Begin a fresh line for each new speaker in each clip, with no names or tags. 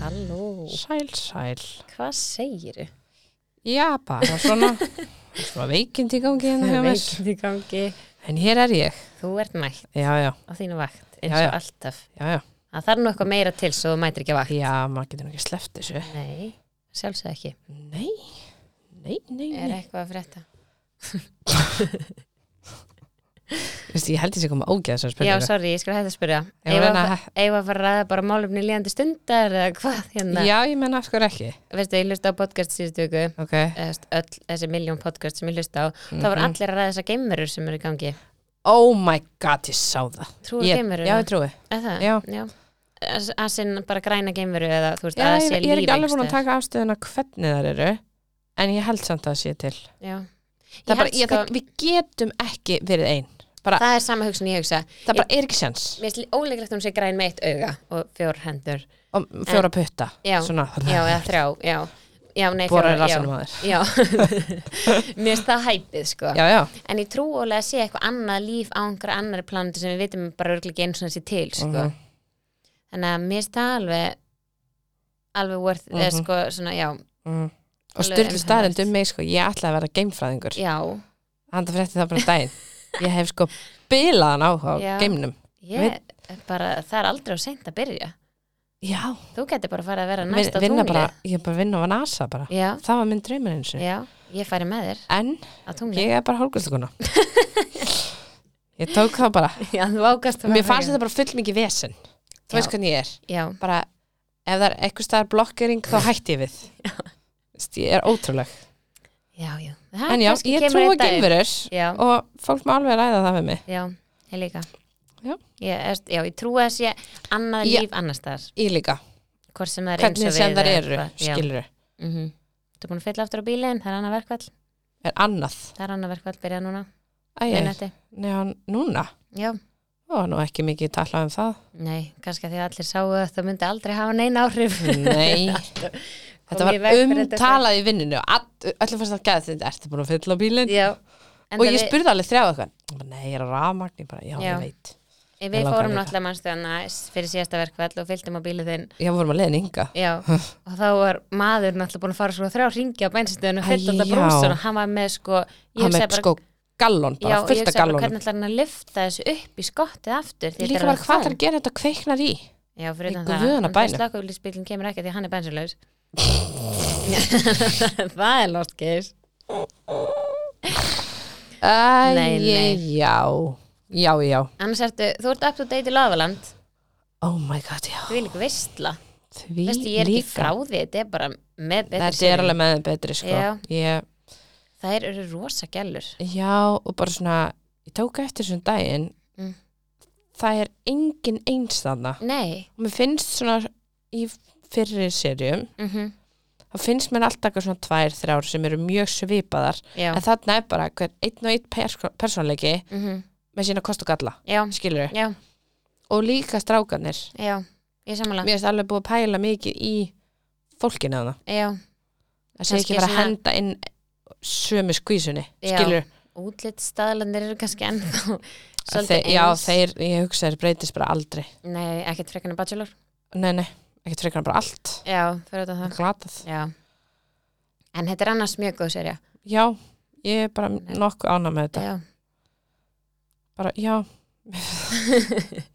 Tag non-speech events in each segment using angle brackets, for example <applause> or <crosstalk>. Halló,
Sæl, sæl.
hvað segiru?
Já, bara svona, <laughs> svona veikind í gangi hérna hjá mér.
Veikind í gangi.
En hér er ég.
Þú ert mætt
Já, já,
á þínu vakt eins
Já,
og
já.
alltaf.
já, já.
Það þarf nú eitthvað meira til svo þú mætir ekki að vakt.
Já, maður getur nú ekki sleppt þessu.
Nei, sjálfsög ekki.
Nei, nei, nei,
Er
nei.
eitthvað að frétta?
Vist, ég held ég sé koma ágæða þessar
Já,
spurningar.
sorry, ég skal hægt að spyrja.
Ég
Eigum við
var að reyna
að
að-
eigum við að fara að ræða bara málumni líðandi stundar eða hvað hérna?
já, ég menna afskar ekki.
Veistu, ég hlusta á podcast síðustu viku,
Ok.
eða þú veist, öll þessi miljón podcast sem ég hlusta á. Það
Mhm.
voru allir að ræða þessa geimverur sem eru í gangi.
Oh my god, ég sá það.
Trúar
Ég,
geimverur?
já, ég trúi.
Eða,
Já.
já. Asinn bara græna geimveru eða þú veist
Já,
að það
ég,
sé líf
ég er ekki alveg
einhvers
búin að taka afstöðuna hvernig þar eru, en ég held samt að það sé til.
staðar. Já. Ég
Það er bara,
held
ég,
sko,
það, við getum ekki verið einn. Bara,
það er sama hugsun ég hugsa.
það bara er ekki sens.
Mér finnst óleiklegt að hún sé græn með eitt auga og fjór hendur.
Og fjóra putta.
Já,
Svona,
Já, eða þrjá, já. Já, nei, fjórar,
borar í
já.
rassanum að þér.
<laughs> Já, mér finnst það hæpið sko
Já, já.
En ég trú ólega að sé eitthvað annað líf á einhverja annari planetu sem við vitum bara örglega ekki eins og þessi til sko
Mhm.
Þannig að mér finnst það alveg alveg worth, mm
Mhm.
sko, svona, já,
Mm. Og
Alveg
styrlu
umhugað.
staðrind um mig sko, ég ætlaði að vera geimfræðingur
já
Handa frétti það bara um daginn Ég hef sko bilaðan áhuga á
Já.
geimnum
Ég, bara, það er aldrei á seint að byrja
Já,
Þú getur bara að fara að vera
vin,
næst á
vinna
tungli
bara, ég er bara að vinna á NASA bara
Já,
Það var minn draumur eins og
já, ég færi með þér
En
á tungli
ég er
<laughs>
bara hálfgöldskona Ég tók það bara
Já, þú ákast
Mér fannst þetta bara full mikið vesen
Já.
Þú veist hvernig ég er
Já,
bara, Ef það er eitthvað staðar blokkering þá hætti ég við Vist, Ég er ótrúleg
já, já ha,
En já,
kannski
ég
kemur
trúi
einn
að
daginn.
geimverur
Já,
Og fólk má alveg ræða það við mig
já, ég líka
Já.
Ég, erst, já, ég trúi að sé annað
Já.
líf annars þar
Ég líka
Hvort sem það er eins
hvernig
og
sem
við
þær
eða
eru,
eitthvað. Já.
skilur
Mhm. Þú er búin að fylla aftur á bílinn, það er annað verkvall
er annað
Það er annað verkvall, byrja núna
Æ,
miðnætti.
neðan núna
Já,
Það var nú ekki mikið talað um það
nei, kannski að því að allir sáu að það myndi aldrei hafa neina áhrif
<laughs> Nei, þetta
Kom í veg
var
fyrir þetta.
umtalað í vinninu og all- öllum fyrst að geða þetta Ertu búin að fylla á bílinn?
Já, en
Og
það
ég
við-
spurði alveg þrjá eitthvað Hún bara, Nei, ég er á rafmagn, ég bara, já,
Já.
ég veit
Við
Mig langar
fórum
líka.
náttúrulega mannstöðana fyrir síðasta verkvall og fylgdum á bílið þinn
Já, við vorum að leiðin ynga <laughs>
Já, og þá var maður náttúrulega búin að fara svo þrjá ringi á bænstöðun og fyllt
Æ,
alltaf
já.
brúsan og hann var með sko ég
Hann
hugsaði
með sko gallon
já,
bara,
ég
fullt
hugsaði
af
bara
gallonum
hvernig ætlar hann að lifta þessu upp í skottið aftur því
Ég
þetta
líka
er
bara
alveg
hvað
fang.
þar gerir þetta kveiknar í
Já, fyrir
Í
utan
guðanna
það,
bænum.
slökkulíspillin kemur ekki því að hann er
<laughs>
bænsulaus Það er lost case Nei, nei.
Æ, já, já, já
Annars ertu, þú ert up to date í Lavaland
Oh my god, já
Þú vil ekki veistla
Því
Veistu, ég er ekki
líka.
frá því, þetta er bara með betri
Þetta
seríu.
er alveg með þeim betri sko
Já.
ég,
Þær eru rosa gælur
já, og bara svona ég tók eftir þessum daginn
Mm.
það er engin eins þarna
Nei
og mér finnst svona í fyrri serjum
mm
þá finnst mér alltaf eitthvað svona tvær, þrjár sem eru mjög svipaðar
Já,
en þarna er bara hver einn og einn persko, persónleiki
mm
með sína kost og galla
já,
skilur
já,
og líka strákanir
já Ég samanlega
mér finnst alveg búið að pæla mikið í fólkinu þarna
Já,
það sé
Kannski
ekki bara að
svona-
henda inn sömu skvísunni
Já.
skilur
útlitt staðlandir eru kannski
<laughs>
ennþá
Þe,
svolítið
já,
eins
þeir, ég hugsa þeir breytist bara aldrei
Nei, ekkert frekarna bachelor
Nei, nei, ekkert frekar en bara allt
Já, fyrir þetta það
Glatað
Já En þetta er annars mjög góð serja
Já, ég er bara nokkuð ánað með þetta
Já,
Bara,
<laughs>
já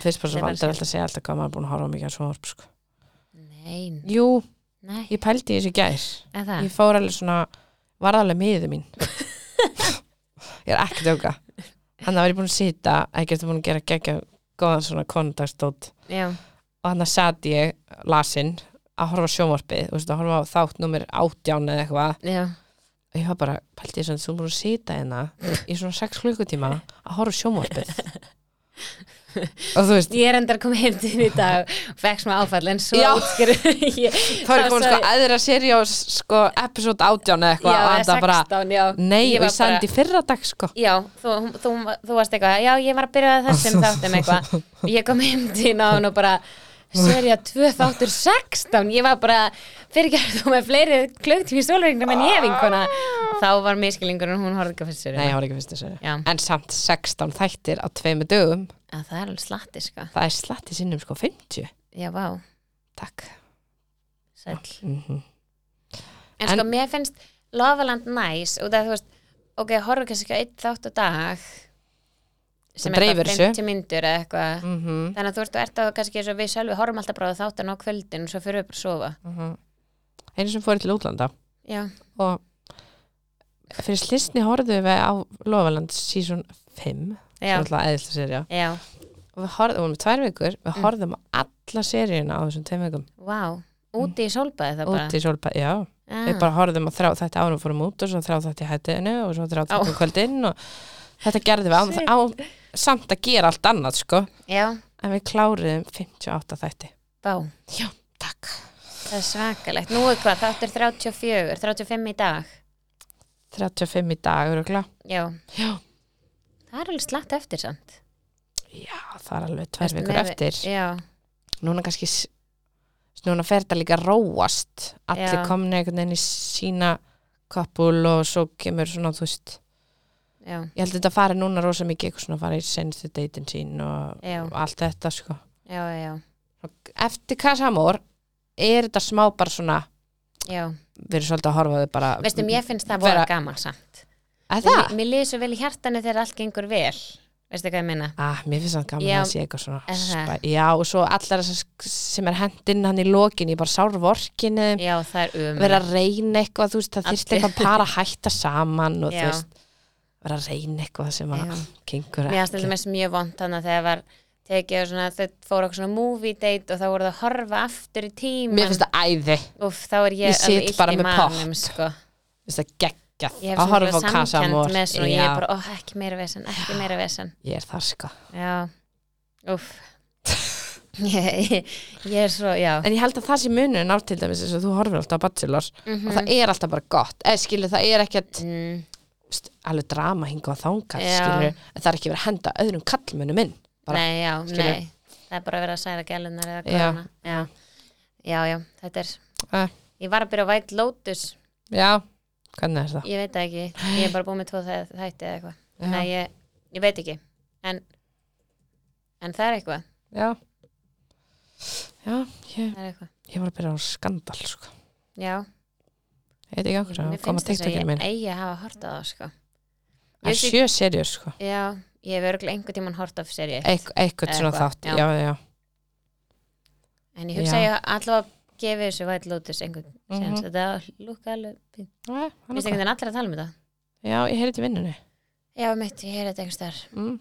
Fyrst bara
Ég
svo
bara
vandur alltaf að segja alltaf hvað maður er búin að horfa á mikið á sjónvarp sko.
nei,
Jú,
nei
ég pældi í þessu í gær
En það,
Ég fór alveg svona, varð alveg miðið
<laughs>
mín Ég er ekki djóka Þannig að var ég búin að sita ekkert búin að gera geggja góðan svona konundagstótt
já,
og þannig sat ég lasinn að horfa á sjónvarpið, þú veist að horfa á þátt nummer átján eða eitthvað
já
og ég var bara, pælti þess að þú múið að sita hérna í svona 6 klukkutíma að horfa á sjónvarpið og þú
<laughs>
veist
Ég er endar komið heim til þín í dag og fekk smá áfall en svo
Já.
útskýru <laughs> ég
þá er
þá
komin
sagði-
sko aðra seri á sko episode 18
Já,
eða eitthvað og
eða
það bara,
16, já
nei,
Ég
og
var
ég sagði þetta í fyrra dag sko
Já, þú, þú, þú varst eitthvað Já, ég var að byrja að þessum þáttum eitthvað Ég kom heim til náðun og bara Serja 2 þáttur 16 Ég var bara, fyrir gerð þú með fleiri klöftum í sólurringnum en ég vinkona Þá var miskilingurinn, hún horfði ekki á fyrst
nei,
serjuna.
ég var ekki fyrst þessu
Já.
en samt 16 þættir á tveimu dögum
að Það er alveg slatti, sko
það er slatti sinnum sko 50
Já, vá
Takk
Sæll.
mm
En,
En-
sko, mér finnst Lofaland næs út af þú veist, ok, horfa kannski ekki á einn þátt og dag sem er
Það dreifir
bara
þessu.
50 myndur eða eitthvað þannig að þú veist, þú ert að kannski eins og við sjálfi horfum alltaf bara á þáttan á kvöldin og svo fyrir við bara að sofa
Einu sem fór ég til útlanda
já,
og fyrir slisni horfðum við á Lofaland season 5
já,
alltaf eðislega serja
já,
og við horfðum, við vorum með tvær vikur
Mm.
við horfðum á alla seríuna á þessum tveim vikum
vá úti í sólbaði það bara
út í solbæð, já,
Ah,
við bara horfðum á þrjá þetta árum fórum út og svo þrjá þetta í hættinu og svo þrjá þetta um kvöldinn og þetta gerðum við á, á, samt að gera allt annað sko,
já,
en við kláruðum 58 þætti,
vá,
takk
það er svakalegt nú er hvað, þáttur 34 35 í dag,
35 í dag, örugla
já
Já.
það er alveg slatt eftir samt
já, það er alveg tvær
Ertu
vikur
með-
eftir
já,
núna kannski s- núna fer þetta líka róast allir
Já.
komni einhvern veginn í sína koppul og svo kemur svona, þú veist
já,
ég held að þetta fari núna rosa mikið eitthvað svona að fara í senstu deitin sín og
já,
allt þetta sko
já, já
Og eftir Kassamór er þetta smá bara svona
já,
við erum svolítið að horfa á þau bara
veistu, mér finnst það voru
vera-
gaman samt
Er það?
mér líður svo vel í hjartanu þegar allt gengur vel veistu hvað ég minna
Ah, mér finnst það gaman
Já.
að það sé eitthvað svona
Er það?
spæ- Já, og svo allar þessar sem er hendinn hann í lokin í bara sárvorkinu
já, það er um
vera að reyna eitthvað, þú veist, það
Allir.
þyrst eitthvað par að hætta saman og þú
Já.
veist vera að reyna eitthvað sem að
Já.
gengur
Mér aðstældum þess mjög vond þannig að þegar var tekið og svona, þau fóru okkur svona movie date og þá voru það að horfa aftur í tíman
Mér finnst það æði, mér
Úf, þá er ég,
Ég sit
alveg illt
bara
í
með
maganum, sko.
finnst það geggjað
Ég hef
að horfa á
svona samkend
Kassamór
með svona, ég er
Já,
bara, ó, ekki meira vesen, ekki meira vesen.
ég er það sko
Já, úf. ég, ég, <laughs> ég er svo, já.
En ég held að það sé munurinn á til dæmis þess að þú horfir alltaf á Bachelor
Mhm.
og það er alltaf bara gott, eða skilur það er ekkert
Mm,
st, alveg drama hinga á þangar
Já.
skilur, en það er ekki verið að henda öðrum kallmönnum inn bara,
nei, já,
skilur.
nei. Það er bara að vera að særa gælunar eða
Já.
hvað Já. já, já, þetta er,
Eh,
ég var að byrja á White Lotus,
já, hvernig er það?
ég veit það ekki, ég er bara búin með tvo þæ- þætti eða eitthvað.
Já,
Nei, ég, ég veit ekki en, en það er eitthvað
já. já ég,
það er eitthvað
ég var að byrja á skandal sko.
Já,
ég veit ekki okkur,
mér
það kom að
finnst þess að
teiktökinu
ég
minn
eigi að hafa hort á það sko. Ég
það er
veit
sjö serjur sko
Já, ég hef örgulega einhvern tímann hort af serið
Eik, eitthvað svona
Eitthvað, já.
þátt, já, já,
en ég hugsa að
já.
ég allavega gefi þessu White Lotus einhvern mm
Mhm.
-hmm. þetta lúka alveg fínt.
já.
Mér finnst
Æ,
einhvern veginn allir að tala um þetta
já ég heyrði til vinnunni
Já, mitt, ég er þetta einhvers þar
mm.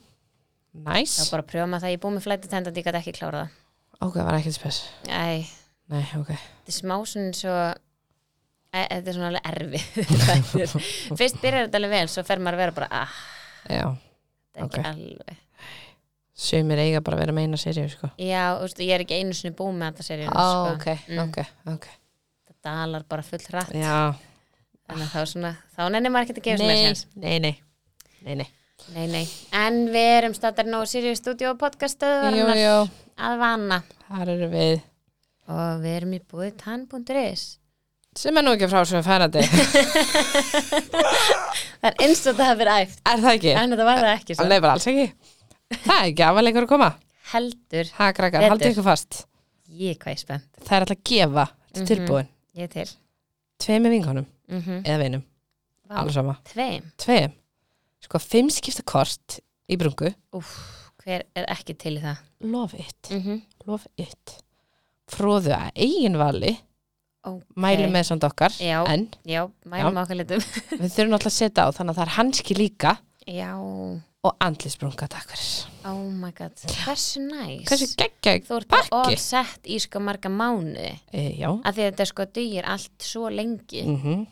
Þá
nice.
bara að prjóma það, ég búið með flætið tenda ég gæti ekki klára það
ok, það var ekkert spes
Æ,
nei, ok
þetta er smá svona svo Æ, þetta er svona alveg erfið <laughs> Fyrst byrjar þetta alveg vel, svo fer maður að vera bara ah,
já.
þetta er ekki
Ok.
alveg
Sumir eiga bara að vera með eina seríu sko.
Já, þú veist, ég er ekki einu sinni búin með þetta seríun
Ó,
sko.
ok,
Mm.
ok, ok
Það dalar bara full rætt
Já,
Þannig að þá, svona, þá nennir maður ekki að gefa svona
nei,
sér
nei, nei Nei, nei
Nei, nei En við erum statar nú Sirius Studio og
Jú,
podcastöðunar
jú,
að vana
þar eru við
Og við erum í búið tann.is
sem er nú ekki frá svo færandi
<laughs> Það er eins og það hafi verið æft
Er það ekki?
En þetta var það ekki sko. svo
Alveg bara alls ekki Það er ekki afalegur að koma
Heldur
Ha, krakkar,
Betur.
haldið ykkur fast
ég hvað ég er spennt
Það er alltaf að gefa, þetta er
Mhm.
tilbúin
Ég er til
Tveim með vinkonum,
mm
eða vinum,
Vá,
alveg sama
Tveim
Tveim, sko, fimm skipta kort í brungu
Hver er ekki til í það?
Lof it,
Mm
lof it Fróðu að eigin vali
Ó,
Mælum með samt okkar
Já.
En
Já, mælum okkar litum
við þurfum alltaf að setja á þannig að það er hanski líka
Já,
og andlisbrunga takk fyrir
oh my god Hversu næs
hversu geggja
þú ert
Pakki.
bara offsett í sko marga mánuði
e, já
af því að þetta sko dýr allt svo lengi
mm -hmm.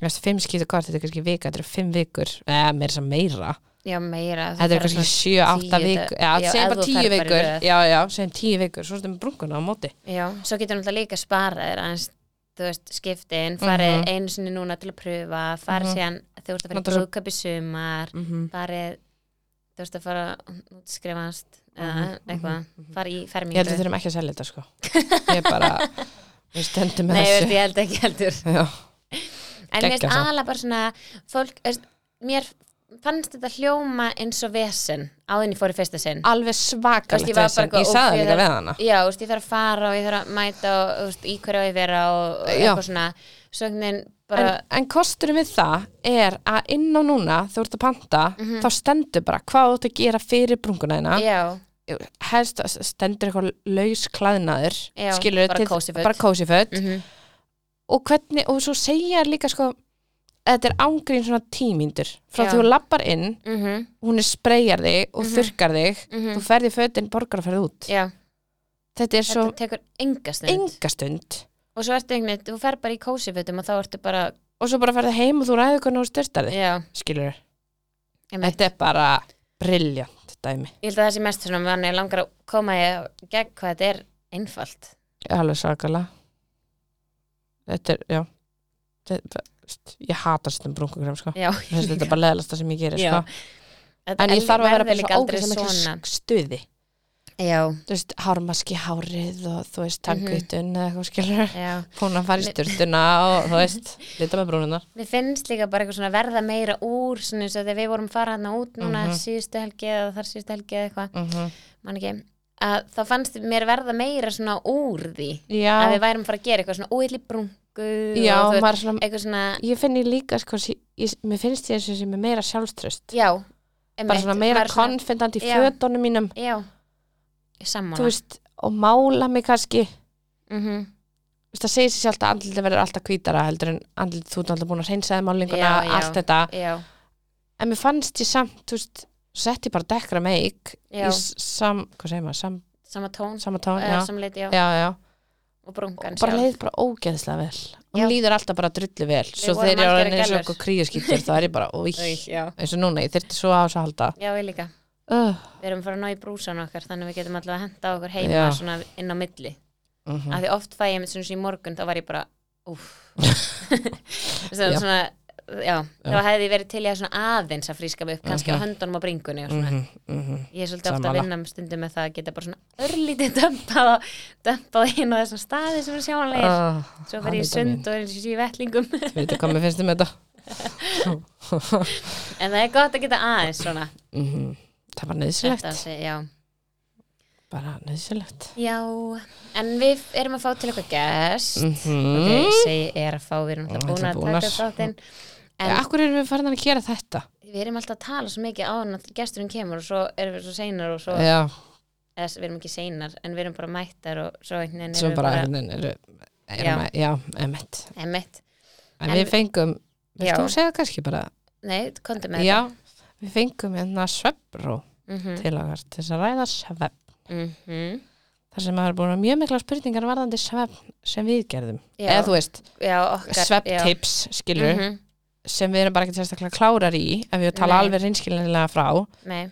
veist fimm skýta kort þetta er kannski vika, þetta eru fimm vikur eða meira sem meira,
já meira þú
þetta eru
ferð
kannski
svona-
sjö, átta
tíu,
vikur,
þetta- já,
já, segjum
ef
bara
þú
tíu
ferð bara í
vikur
röð.
já, já, segjum tíu vikur, svo erum brunguna á móti
já, svo getur náttúrulega líka sparað þér aðeins þú veist, skiptin, farið
Mhm.
einu sinni núna til að pröfa, farið síðan þú ert að fara í
Náttúrulega-
brúðköp í sumar
mm -hmm.
farið, þú ert að fara útskrifast, eða
Mhm,
eitthvað farið í
ég held við
fermingu
þurfum ekki að selja þetta sko ég er bara, við stöndum með
nei, veist,
þessu
ég held ekki heldur
<laughs> já,
en mér
Geggjað
finnst
samt.
aðalega bara svona fólk, veist, mér fannst þetta hljóma eins og vesen áðin ég fór í fyrsta sinn
alveg svakalegt
Þú veist, ég var bara
vesen.
eitthvað,
ég sagði
óf,
það
ég
líka
þarf-
við hana
já, þú veist, ég þarf að fara og ég þarf að mæta og þú veist, í hverju á ég að vera og, og
Já.
eitthvað svona sögnin
en,
bara,
en kosturum við það er að inn á núna þú ert að panta, þá stendur bara hvað þú ert að gera fyrir brunguna þina
já,
helst stendur eitthvað laus klæðnaður
Já,
skilur
bara cozy föt.
bara cozy föt
mhm
og hvernig, og svo segja þær líka sko þetta er ángrín svona tímyndur frá
Já.
því þú lappar inn,
mhm,
hún er spreyjar þig og
Mhm.
þurkar þig,
Mhm.
þú ferði fötin borgar að ferði út,
já,
þetta er svo
þetta tekur enga stund
enga stund
og svo ertu einhvern veginn, þú fer bara í kósifötum og þá ertu bara,
og svo bara ferði heim og þú ræði hvernig þú styrtar þig
já
skilur,
einmitt.
þetta er bara briljant dæmi,
ég held að það sé mest svona, mann er langar að koma í gegn hvað þetta er einfalt
alveg sakalega þetta er, já þetta, ég hata stundum brunkukrem sko,
já,
Mér finnst þetta er bara leðalasta sem ég gerir
Já.
sko
Þetta-
en ég þarf að vera
verður
bara
líka
svo
aldrei
ógæslega miklu
svona.
sk- stuði
já,
þú veist, hármaski hárið og þú
Mhm.
veist, tangutun eða eitthvað skilur
já
búin að fara í styrtuna og þú veist <laughs> lita með brúnunar
Mér finnst líka bara eitthvað svona verða meira úr svona eins og þegar við vorum fara hann út núna
Mhm.
síðustu helgi eða þar síðustu helgi eða eitthvað,
mm -hmm.
mann ekki að þá fannst mér verða meira svona úr því að
já,
við værum fara að gera eitthvað svona úilli brungu
já
og þú veist,
maður er svona,
eitthvað svona
ég finn ég líka sko, sí- ég, mér finnst ég eins og sem er meira sjálfströst
já,
bara
einmitt,
svona meira
maður er svona-
konfident í
Já.
fötunum mínum
já, ég sammála
þú veist, og mála mig kannski þú
mm
veist, það segir sér sjálft að andlitið verður alltaf hvítara heldur en andlitið þú ert alltaf búin að reynsaði málinguna,
Já, já.
allt þetta
já,
en mér fannst ég samt, þú veist sett ég bara dekkra meik
já,
í s- sam, hvað segir maður, sam,
sama tón
sama tón
eða sama lit, já,
já, já.
og brungan
og bara
sjálf.
leið bara ógeðslega vel
Já.
og hún líður alltaf bara drullu vel svo
vorum
þegar ég
algjörar
var eins og
gælur.
okkur kríuskýttur þá er ég
<laughs>
bara, oi,
Új, já.
eins og núna ég þyrfti svo á þess að halda
já, ég líka
uh,
við erum fara að ná í brúsan okkar þannig að við getum allavega að henda okkur heima
Já.
svona inn á milli
uh
af því oft fæ ég með svona í morgun þá var ég bara
<laughs>
úff Svo-
Já.
svona, já, þá hefði ég verið til í að svona aðeins að fríska mig upp kannski á höndunum og bringunni og svona ég er svolítið ofta að
Mhm. Mm. Sammála.
vinna um stundum með það að geta bara svona örlítið dömpað og dömpað inn á þessa staði sem er sjáanlegir svo fer ég í
hamingja Ah, mín.
sund og er eins og sé í vettlingum
Þú veitir hvað mér finnst um þetta
en það er gott að geta aðeins svona
mm það var
þetta
nöðsilegt
sé, já
bara nöðsilegt
Já, en við erum að fá til eitthvað gest mm.
mm -hmm.
Ok, ég segi er að fá, við erum alltaf
Mm,
búin að
búnar.
taka þáttinn En Sko,
Akkur Eh, erum við farin að gera þetta
við erum alltaf að tala svo mikið áður að gesturinn kemur og svo erum við svo seinar og svo,
Já,
eða við erum ekki seinar en við erum bara mættar og svo einhvern veginn
sem
erum við
bara erum, erum,
Já.
erum að, Já, emitt
Einmitt.
En,
En-
við fengum,
Já.
vilt þú segja kannski bara
Nei, komdu með
Já, við fengum hérna svefnró
þetta mm
til okkar til þess að ræða svefn
-hmm.
þar sem maður er búin að mjög mikla spurningar varðandi svefn sem við gerðum eða þú veist,
já, okkar
svefntips skilur,
mm -hmm.
sem við erum bara ekki sérstaklega klárar í ef við tala
Nei.
alveg reynskilinlega frá
Nei,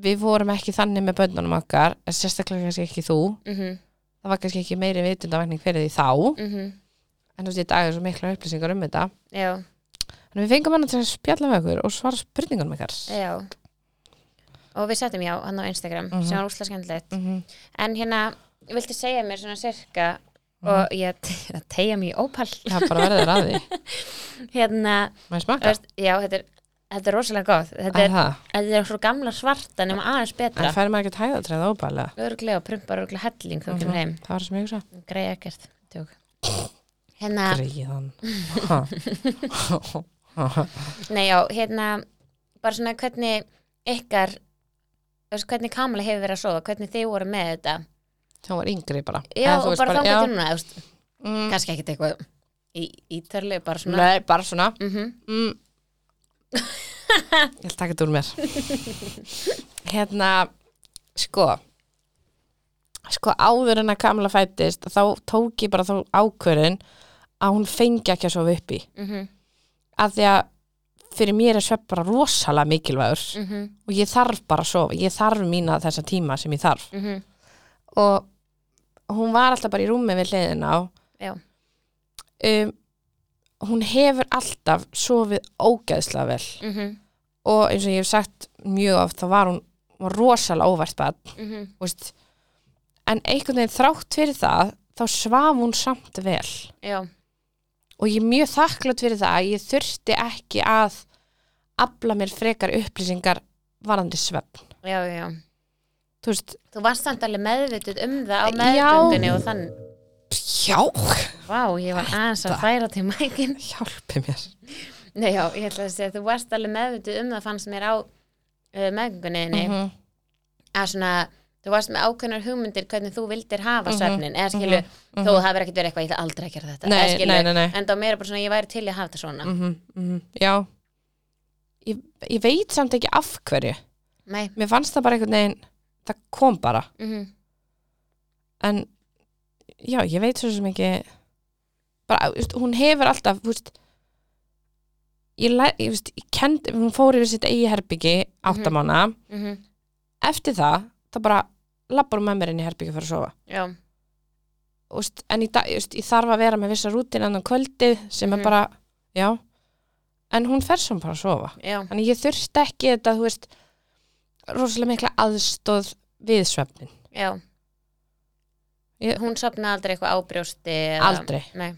við vorum ekki þannig með bönnunum okkar en sérstaklega kannski ekki þú
mm -hmm.
það var kannski ekki meiri vitundavakning fyrir því þá en þú veist, ég dag er svo mikla upplýsingar um þetta
mhm. já,
en við fengum hann til að spjalla með okkur og svara spurningunum okkar
já Og við settum já, hann á Instagram
Mhm.
sem var úslega skemmtilegt
mm -hmm.
En hérna, viltu segja mér svona sirka
Mhm.
og ég <laughs> te- að tegja mér í ópall
það er bara verður að því,
hérna,
maður
þú
smaka
veist, já, þetta er þetta er rosalega góð, þetta er,
Er það?
þetta er svo gamla svarta nema aðeins betra,
en fær maður ekki hæðatræða óbælega
örglega og prumpar örglega helling þú kemur heim,
það var sem ég hugsa
greið ekkert
<laughs>
tjók. hérna, <laughs>
greiðan
nei já, hérna bara svona hvernig ykkar þú veist, hvernig Kamala hefur verið að sofa hvernig þið voru með þetta
<laughs> þá var yngri bara
já,
Eða, þú
og
veist,
bara þangað
já,
til núna, þú veist,
mm,
kannski ekkert eitthvað í, ítarlega, bara svona
nei, bara svona
mm
mm. ég ætla að taka þetta úr mér <laughs> hérna sko sko áður en að Kamla fættist þá tók ég bara þá ákvörðin að hún fengi ekki að sofa uppi
Mhm.
af því að fyrir mér er svepp bara rosalega mikilvægur
Mhm.
og ég þarf bara að sofa ég þarf mína þessa tíma sem ég þarf
Mhm.
og hún var alltaf bara í rúmi við hliðin á
já,
um, hún hefur alltaf sofið ógeðslega vel
mhm,
og eins og ég hef sagt mjög oft þá var hún hún var rosalega óvært barn
mhm,
þú veist. en einhvern veginn þrátt fyrir það þá svaf hún samt vel
já
og ég er mjög þakklátt fyrir það að ég þurfti ekki að afla mér frekar upplýsingar varandi svefn
já, já, já.
þú veist,
Þú varst samt alveg meðvituð um það á
Já.
meðgöndinni og þann
já
Vá, ég var aðeins að
Þetta.
færa til mækin
hjálpi mér
Nei, já, ég ætla að segja, þú varst alveg meðvituð um það fannst mér á uh, meðgöndinni
Mhm.
að svona, þú varst með ákveðnar hugmyndir hvernig þú vildir hafa
Mhm,
svefnin eða skilu, mm -hmm. þó það verið ekkert verið eitthvað ég ætla aldrei að gera þetta,
Nei,
eða skilu
nei, nei, nei.
en þá meira bara svona, ég væri til í að hafa þetta svona
Mhm, mhm, já ég, ég veit samt ekki af hverju
nei,
mér fannst það bara einhvern veginn það kom bara
mm
en já, ég veit svo sem ekki bara, þú veist, hún hefur alltaf þú veist, ég, lær- ég, þú veist, ég kend, hún fór yfir sitt eigi herbyggi
Mhm.
áttamána mm
Mm
eftir það, þá bara labbar hún með mér inn í herbyggi fyrir að sofa
já,
Þú veist, en í dag, þú veist, ég þarf að vera með vissa rútin annan kvöldið sem
Mhm.
er bara, já en hún fer sem bara að sofa
já,
þannig ég þurfti ekki þetta, þú veist rosalega mikla aðstóð við svefnin,
já
Ég-
hún sopnaði aldrei eitthvað ábrjósti eða...
aldrei
nei,
Eða,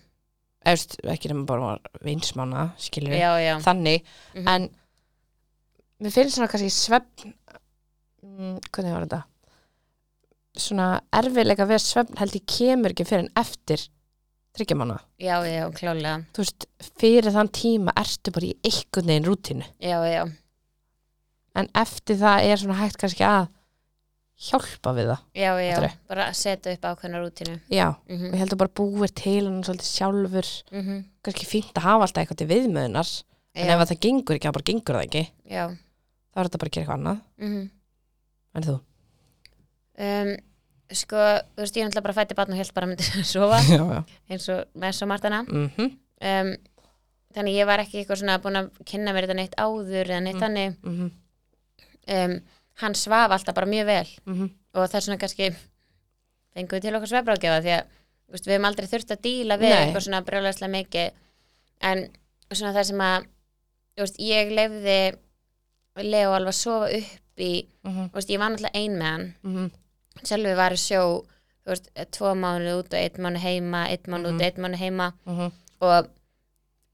þú veist, ekki nema bara hún var vinsmána, skilur
já, já,
þannig,
Mhm.
en mér finnst svona kannski svefn mm, hvernig var þetta svona erfiðleika við svefn held ég kemur ekki fyrir en eftir þryggjamána,
já, já, klálega
þú veist, fyrir þann tíma ertu bara í einhvern veginn rútinu
já, já,
en eftir það er svona hægt kannski að hjálpa við það,
já, já
Aldrei.
bara setja upp ákveðnar rútinu
já
mm
og ég
-hmm.
held að bara búir til hann svolítið sjálfur kannski fínt að hafa alltaf eitthvað til viðmöðunar
mhm.
en ef
já,
að það gengur ekki, þá bara gengur það ekki
já
þá er þetta bara að gera eitthvað annað
mm <laughs>
en þú?
um, sko, þú veist, ég er náttúrulega bara fætti batn og held bara að myndi <laughs> sofa
já, já.
eins og með svo margt annað
Mm -hmm.
um, þannig ég var ekki eitthvað svona búin að kynna mér þetta neitt áður eða neitt þannig
Mm -hmm.
um, hann svaf alltaf bara mjög vel
Mm -hmm.
og það er svona kannski fengum við til okkar svefrágefa því að þú veist, við hefum aldrei þurft að díla við
Nei.
eitthvað svona brjóðlega mikið en svona það sem að þú veist, ég lefði Leo alveg að sofa upp í
Mhm.
þú veist, ég var náttúrulega ein með hann
Mm
sjálfur var í sjó þú veist, tvo mánuð út og einn mánuð heima einn mánuð
Mhm.
út og einn mánuð heima
-hmm.
og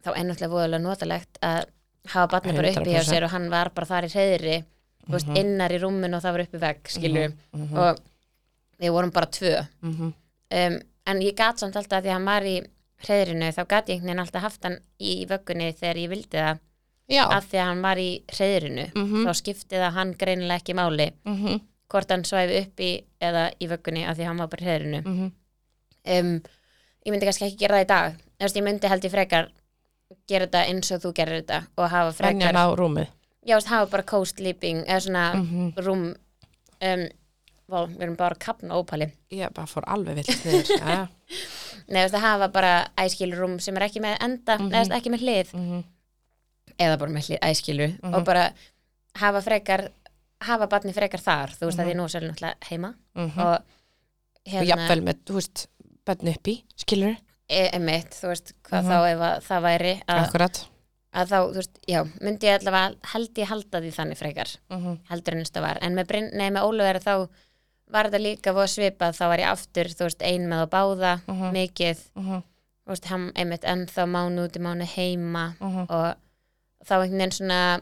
þá ennúttlega voðalega notalegt að hafa batni bara uppi hjá
100%.
sér og hann var bara þar í reyðri þú
Mhm.
veist, innar í rúminu og það var uppi vegg skilju, og við vorum bara tvö
mhm.
um, en ég gat samt alltaf að því að hann var í hreðrinu þá gat ég einhvern veginn alltaf haft hann í vöggunni þegar ég vildi það
já
að því að hann var í hreðrinu
Mhm.
þá skipti það hann greinilega ekki máli
mm -hmm.
hvort hann svæfi uppi eða í vöggunni að því að hann var bara í hreðrinu
Mm -hmm.
um, ég myndi kannski ekki gera það í dag Þú veist, ég myndi held ég frekar gera þetta eins og þú gerir þetta og hafa frekar,
á rúmið
já, þú veist, hafa bara co-sleeping eða svona
Mhm.
rúm um, vá, við erum bara að kapna ópali,
ég bara fór alveg
<laughs>
vilt niður já,
nei, þú veist, að hafa bara æskilu rúm sem er ekki með enda mm eða þú veist, ekki með hlið,
mm -hmm.
eða bara með hlið æskilu og bara hafa frekar hafa barni frekar þar, þú veist, að því nú er sérlega náttúrulega heima og hérna-
og Mhm. jafnvel með, þú veist, benn uppi skilur,
e- einmitt, þú veist, hvað
Mhm.
þá ef að það væri að
akkurat
að þá, þú veist, já, myndi ég allavega held ég halda því þannig frekar
mm -hmm.
heldur ennst það var, en með, Bryn- nei, með Ólöfur þá var þetta líka voða svipað þá var ég aftur, þú veist, ein með að báða
Mhm.
mikið,
Mm -hmm.
þú veist, hann einmitt ennþá mánu út í mánu heima
Mm -hmm.
og þá einhvern veginn svona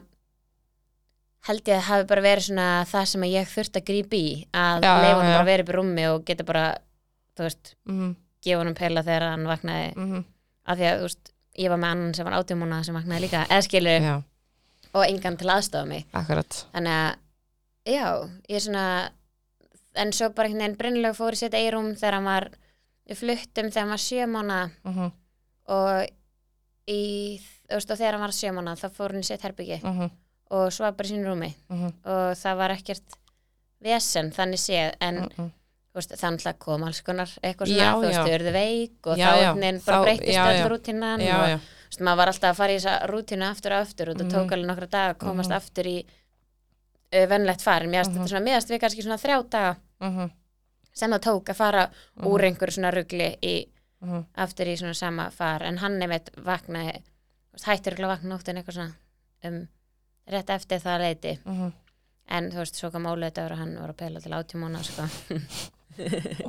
held ég að hafi bara verið svona það sem að ég þurfti að grípa í að
Já, já,
leifa hann
já.
bara verið upp í rúmi og geta bara, þú veist,
Mm
gefa hann pela þegar hann vaknaði,
-hmm.
af því að, þú veist, ég var með annan sem var átjumóna sem vaknaði líka, eða skilur
já,
og engan til aðstofa mig
akkurat
þannig að já, ég er svona en svo bara einhvern veginn brennilega fór í sitt eirum þegar hann var við fluttum þegar hann var sjö mána
mm -hmm.
og í, þú veist, og þegar hann var sjö mána þá fór hann í sitt herbyggi
Mm -hmm.
og svo bara í sínu rúmi og það var ekkert vesen þannig séð en þú veist, þannig að kom alls konar eitthvað svona,
Mm. Já,
þú veist,
já.
þau eruðu veik og
Já,
þá
já.
einhvern veginn bara
Þá-
breyttist
já, já.
öll rútinan
já,
og
já
þú veist, maður var alltaf að fara í þessa rútinu aftur og aftur og það tók alveg nokkra daga að komast aftur í uh, vennlegt farin, mér finnst þetta svona meðast við kannski svona þrjá daga
mm -hmm.
sem það tók að fara úr einhverju svona rugli í,
Mhm.
aftur í svona sama far en hann nefnt vaknaði þú veist, hættur að vakna nóttin eitthvað svona um, rétt eftir það leiti
Mhm.
en þú veist, svo kom óleitaður og hann var að pela til átjumóna sko.
Já,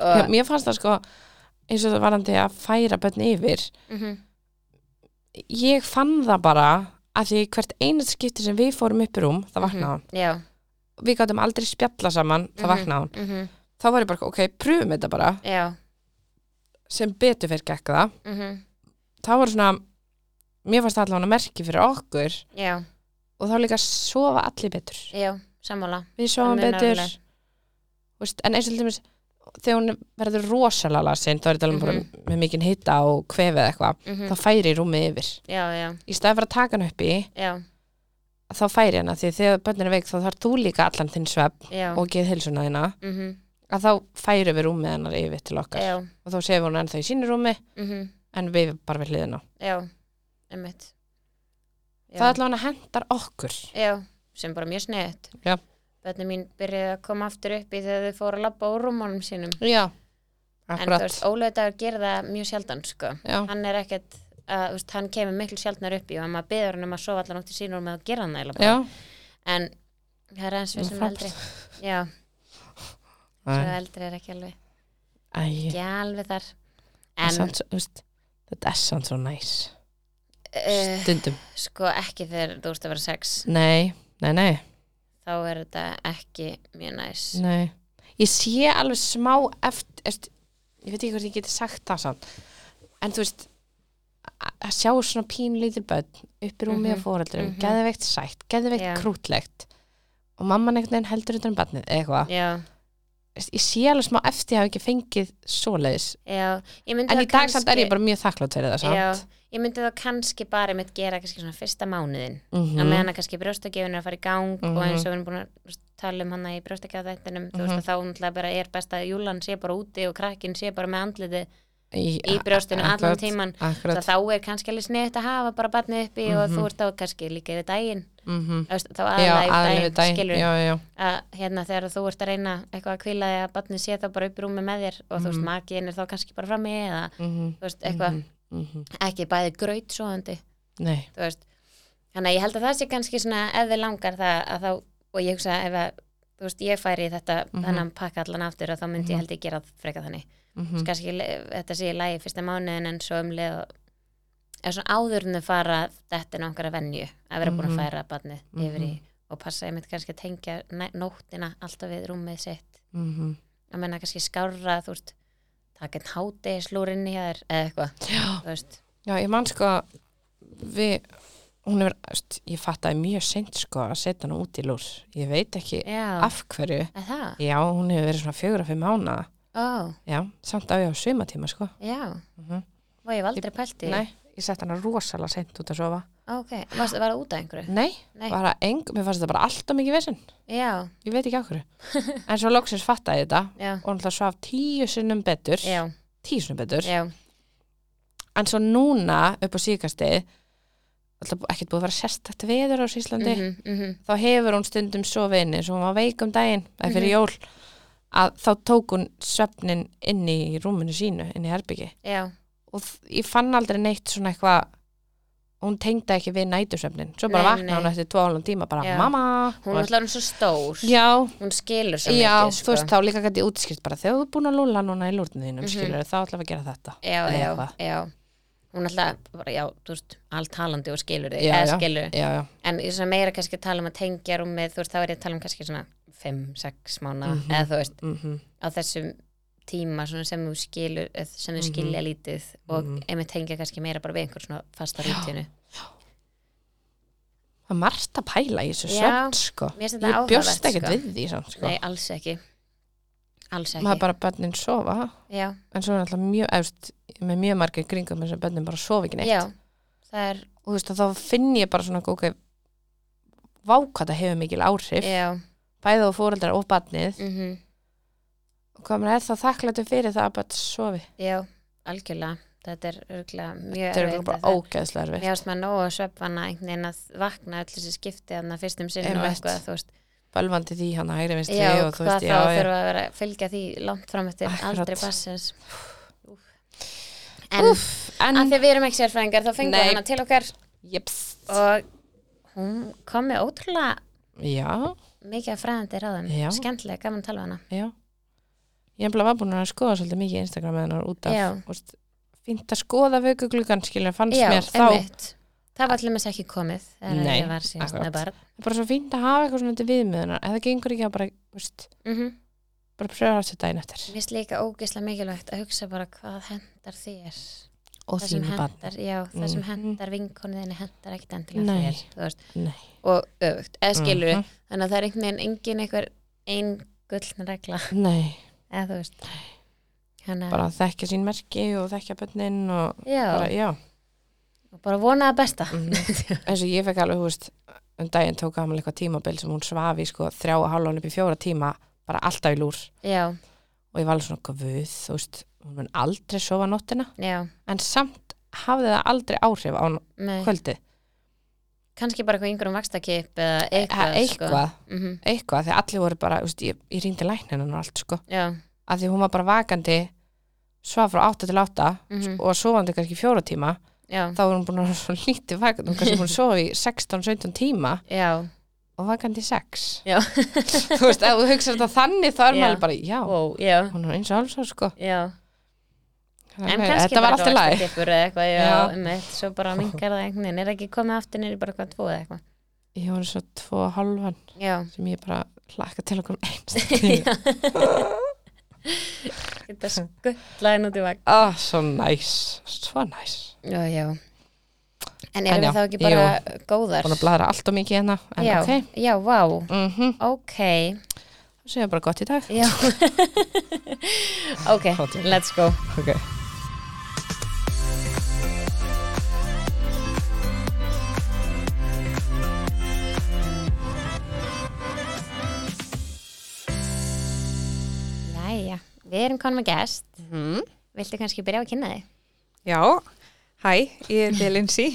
og,
mér fannst það sko eins og það varandi að færa bönni yfir
mhm,
ég fann það bara að því hvert einast skipti sem við fórum upp í rúm það vaknaði hann,
Mhm. já,
við gáttum aldrei spjalla saman það
Mhm.
vaknaði hann,
mhm,
þá var ég bara ok, pröfum þetta bara,
já
sem betur fyrir gekk það
mhm,
þá var svona, mér fannst það allavega merki fyrir okkur
já,
og þá líka sofa allir betur
já, sammála
við
Það
sofum
munar
betur
alveg.
Vist, en eins og til dæmis þegar hún verður rosalega lasin þá er þetta alveg um bara
Mhm.
með mikinn hitta og kvefið eitthvað
mhm,
þá færi ég rúmið yfir
já, já,
í staði fyrir að taka hann upp í
já,
þá færi hann að því að þegar börnin er veik þá þarf þú líka allan þinn svepp
já
og geð hilsuna þína
mhm,
að þá færi við rúmið hennar yfir til okkar
já,
og þá séum hún ennþá í sínu rúmi
mhm,
en við bara við hliðina
já einmitt Já.
það allavega hendar okkur
Já, sem bara mjög sniðt.
Já.
Bönni mín byrjaði að koma aftur upp í þegar þau fóru að labba úr rúmónum sínum.
já,
En þú
akkurat
veist, ólöðdagur gerir það mjög sjaldan, sko.
já,
Hann er ekkert, að, þú veist, hann kemur miklu sjaldnar upp í og maður byður hann um að sofa allan átt í sínur með að gera hann það.
já,
En það er eins við
Nú,
sem
frábært.
eldri. Já, svo
Æ,
eldri er ekki alveg,
æ,
ekki alveg þar.
það er
En,
samt svo- þú veist, þetta er samt svo næs
uh,
stundum,
sko, ekki þegar þú veist að vera sex,
nei, nei, nei
þá er þetta ekki mjög næs.
Nei, ég sé alveg smá eftir, eftir ég veit ekki hvort ég geti sagt það samt en þú veist a- að sjá svona pín lítil börn upp í rúmi
Mhm,
og fóreldrum, mm
mhm.
geðveikt sætt geðveikt
Já.
krútlegt og mamman einhvern veginn heldur utan um barnið eða eitthvað,
Já,
yeah. ég sé alveg smá eftir að hafa ekki fengið svoleiðis
já. Ég myndi
en
það
í dag samt er
kannski-
ég bara mjög þakklátt fyrir það
Já,
samt
ég myndi þá kannski bara mitt gera kannski svona fyrsta mánuðin
mm
að með hana kannski brjóstakefin er að fara í gang og
Mhm.
eins og við erum búin að þú veist, tala um hana í brjóstakefættinum þú veist að þá náttúrulega bara er best að júlan sé bara úti og krakkin sé bara með andliti í brjóstinu allan tíman Svo
akkurat,
þá er kannski alveg sniðt að hafa bara barnið uppi og þú ert þá kannski líka yfir daginn
mm
Þú veist, þá
Mhm. já,
aðlega
aðlega
yfir
við
daginn
daginn
skilur
já, já,
að hérna þegar þú ert að reyna eitthvað að kvíla því að barnið sé þá bara upp í rúmi með þér og
Mhm.
þú veist makiðin er þá kannski bara frammi eða
mm -hmm,
þú veist eitthvað ekki bæði gröyt
Mhm. nei
þú veist þannig að ég held að það sé kannski svona ef þið langar það að þá og ég hugsa ef að þú veist ég færi í þetta
Mhm.
þennan pakka allan aftur að þá myndi ég held ég gera freka þannig
mm
mm. kannski le- þetta sé í lagi fyrsta mánuðin en svo um leið og eða svona áðurinu fara þetta er okkar að venju að vera búin að
Mhm.
færa barnið yfir í
Mhm.
og passa ég mitt kannski að tengja næ- nóttina alltaf við rúmið sitt
-hmm.
að menna kannski skárra þú veist taka einn hátegi slúrinni hér eða eitthvað
Já.
þú veist
Já, ég man sko við, hún hefur st, ég fattaði mjög seint sko að setja hana út í lúr ég veit ekki
já,
af hverju
er það?
já, hún hefur verið svona fjögur að fimm ána
ó,
já, samt á ég á sumatíma sko
já
Mhm.
Og ég hef aldrei pælt í því.
nei, ég sett hana rosalega seint út að sofa
Ah, Ok, varstu að vara út af einhverju?
nei,
Nei.
bara eng, mér fannst þetta bara alltaf mikið vesinn
Já,
ég veit ekki af
<laughs>
hverju en svo loksins fattaði ég þetta
já,
og hún ætla svaf tíu sinnum betur
já,
tíu sinnum betur
já,
en svo núna upp á síkastið ekki búið að vera sérstakt veður á Íslandi
mhm, mhm,
þá hefur hún stundum svo vini svo hún var veik um daginn, eða fyrir
Mhm.
jól að þá tók hún svefnin inn í rúminu sínu, inn í herbyggi
já,
og þ- ég fann aldrei neitt svona eitthvað hún tengdi ekki við nætursvefnin svo bara
Nei,
vaknaði hún
nei.
eftir tvo álan tíma bara
Já.
mamma
Hún
Og-
er alltaf hún svo stór,
já,
hún skilur svo
já
mikið, sko."
þú veist þá líka gæti útskýrt bara þegar þú er búin að lúla núna í lúrnum þínum mm
Mhm.
þá ætlaði að gera þetta
Já,
eða
já,
eitthvað.
já, hún er alltaf, bara, já, þú veist, allt talandi og skilur þig,
Já,
eða
já.
skilur,
já, já,
en ég er svona meira kannski að tala um að tengja rúmið, þú veist, þá er ég að tala um kannski svona 5-6 mánu,
Mhm.
eða þú veist,
mm
á þessum tíma svona sem þú skilur, eh, sem þú
Mhm.
skilja lítið og
Mhm.
einmitt tengja kannski meira bara við einhver svona fasta
Já.
rútinu.
það er margt að pæla í þessu
Já.
svefn sko
Mér finnst þetta
ég bjóst
áhugavert,
ekkert
sko.
við því samt, sko.
Nei, alls ekki Alls ekki
maður bara bönnin sofa
já,
en svo er alltaf mjög efst með mjög margir kringum þess að börnum bara sofi ekki neitt
já, það er
og þú veist að þá finn ég bara svona ok, vákata hefur mikil áhrif
já,
bæði á fóreldrar og barnið
mm
og hvað maður er þá þakklættu fyrir það að börn sofi
já, algjörlega Þetta er örgulega mjög
þetta er örugglega bara
ógæð
ógeðslega erfitt
Mér ást maður nóg að svefna einhvern veginn að vakna öll þessi skipti hann að fyrstum sinn og
Einmitt.
eitthvað, þú veist
bölvandi því hann hægri vinstri
Já,
og þú
hvað
veist
þá
já,
þurfa
já,
að vera að fylgja því langt fram eftir
Akkurat.
aldrei bassins En Úf,
en
að því við erum ekki sérfræðingar þá fengum
Nei.
við hana til okkar
jeps,
og hún kom með ótrúlega
já,
mikið af fræðandi ráðum
Já.
skemmtilega, gaman að tala við hana
já ég hefði var búin að skoða svolítið mikið Instagram með hennar út af
Já.
þú veist, fínt að skoða vökugluggan skilja fannst mér þá
einmitt. það var allir með þess ekki komið þegar
Nei,
ég var síðast
akkurat.
með barn
það er bara svo fínt að hafa eitthvað svona til viðmiðunar ef það gengur ekki að bara, veist,
mm -hmm.
bara pröfa þessu daginn eftir
Mér finnst líka ógeðslega mikilvægt að hugsa bara hvað hendar þér
og
það sem
þínu barn
hendar, já, það sem
Mhm.
hendar vinkonu þinni hendar ekkit endilega
Nei.
þér þú veist,
Nei.
og öfugt, eða skilur
Mhm.
þannig að það er einhvern veginn engin einhver ein gulln regla
Nei,
eða þú veist Hanna,
Mm-hmm. bara þekkja sín merki og þekkja bönnin og
já,
bara, Mhm. já Mm-hmm.
og bara vona að besta
<laughs> eins og ég fekk alveg, þú veist um daginn tók hann eitthvað tímabil sem hún svaf í sko þrjá og hálfan upp í fjóra tíma bara alltaf í lúr
<laughs> já,
og ég var alveg svona guð, þú veist hún mun aldrei sofa nóttina
já,
en samt hafði það aldrei áhrif á
nei
kvöldi
kannski bara eitthvað yngur um vakstakip eða
eitthvað,
eitthvað,
Eh, eitthvað,
Sko. Mm
eitthvað því allir voru bara, þú veist, ég, ég rýndi lækninu og allt sko,
já,
að því hún var bara vakandi svaf frá 8 til 8
Mhm.
og sofandi kannski í fjóra tíma
já,
þá var hún búin að vera svo lítið vakandi hún kannski búin að sofa í 16-17 tíma
já
og vakandi í 6
Já.
<laughs> þú veist, ef þú hugsar þetta þannig þá er
Já.
maður bara, já,
Ó, já,
hún er eins og alls sko
já En
Þannig að
kannski
þetta var
bara
allt í lagi
vaxtakipur eða eitthvað, já,
Já.
já. Með, svo bara mingar það einhvern veginn, er ekki komið aftur nýri bara hvað tvo eða eitthvað
ég var svo tvo og halvan
Já,
sem ég bara hlakka til okkur
<laughs>
einst
geta skuttlaðin út í vagn
ah, svo næs, svo næs
Já, já En
En
erum
já,
við þá ekki bara góðar?
búin að bladra allt og mikið hérna en
já,
ok,
já, vá,
mhm,
ok
það séu bara gott í dag
Já <laughs> Ok,
Hátíð.
let's go
ok
Jæja, við erum konum að gest
Mhm.
Viltu kannski byrja á að kynna þig?
Já, hæ, ég <laughs> heiti Lindsay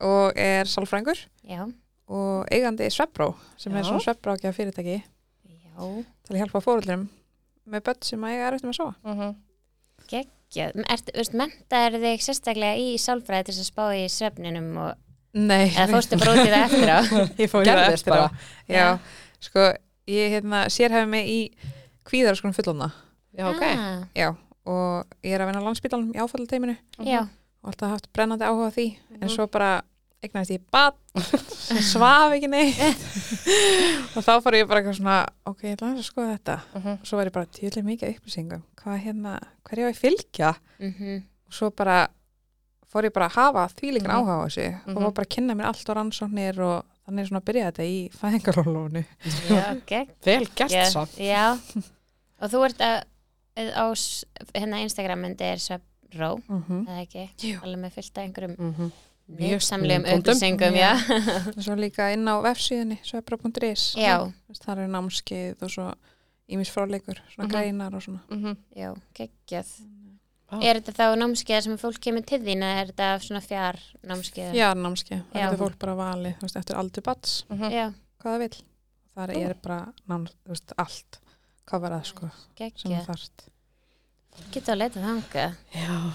og er sálfrængur
Já,
og eigandi Svebró sem
Já.
er svona Svebrókja fyrirtæki
já
til að hjálpa fóröldrum með börn sem að eiga erfitt með að sofa.
Mhm.
Já, ert, veist, menta er þig sérstaklega í sálfræði til þess að spá í svefninum og,
Nei,
eða fórstu bara út í það eftir á
<laughs> ég fór í það
gerðist
eftir á.
bara
Já, sko, ég hérna, sérhefi mig í kvíðar sko fullumna.
já, <laughs> ok,
ah,
Já, og ég er að vinna á landspítalum í áfallateiminu
Já,
og alltaf haft brennandi áhuga á því en svo bara eignaðist ég bad svaf ekki <laughs> neitt og þá fór ég bara eitthvað svona ok, ég ætla aðeins að skoða þetta
Ah.
Mhm.
og svo var ég bara tjóðlega mikið af upplýsingum hvað hérna, hverja ég að fylgja
mhm
og svo bara fór ég bara að hafa þvílingan
Mhm.
áhuga á þessu og
Mhm.
fór bara að kynna mér allt á rannsóknir og þannig er svona að byrja þetta í fæðingarólónu
Já, gegn
vel gert
Já,
svo
Já, og þú ert að eð- á s- hérna Instagram myndi er Svebró,
mm -hmm.
eða ekki?
Jú.
Alveg með fyllt af einhverjum
Mhm.
Mjög
samlegum
spennandi.
upplýsingum, já.
svo líka inn á vefsíðinni svebra.is
Já,
það eru námskeið og svo ímis fráleikur,
Mhm.
svona greinar og svona
já, geggjað.
Vá.
Er þetta þá námskeið sem fólk kemur til þín eða er þetta svona fjár námskeið?
Já, námskeið. Það
Já.
getur fólk bara valið, þú veist, eftir aldur bats,
mhm.
Já,
hvað það vil. Það er bara náms, þú veist, allt. Hvað var það, sko, sem
geggjað.
það þarft.
Getur að leita þangað.
já,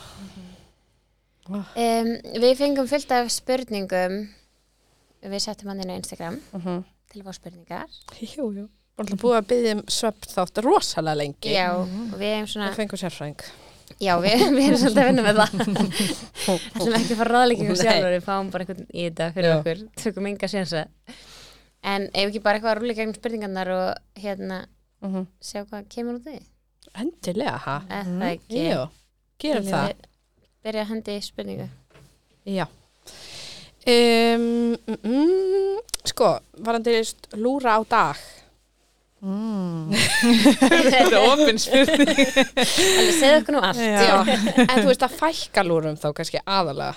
Um, við fengum fullt af spurningum, við settum hann inn á Instagram
mhm
til að fá spurningar.
Jú, jú. Bara alltaf búið að byggja um svefn þátt rosalega lengi.
Já, og við erum svona...
Það fengur sérfræðing.
Já, við, við erum svolítið að vinna með það
<laughs>
ætlum ekki að fara ráðleikingu
Nei.
sjálfur við fáum bara einhvern í þetta fyrir
Já.
okkur tökum enga sénsa en ef ekki bara eitthvað að rúli gegnum spurningarnar og hérna
Mm -hmm.
sjá hvað kemur út í
Endilega, ha?
eða það ekki
Jú, Mm, gerum
Viljum
það.
við byrja að hendi í spurningu
<laughs> Já. Um, mm, mm, sko, varandi just lúra á dag.
Mm.
alveg
er ofin spurning.
segðu okkur nú allt
<laughs> Já. En þú veist að fækka lúrum þá kannski aðalega.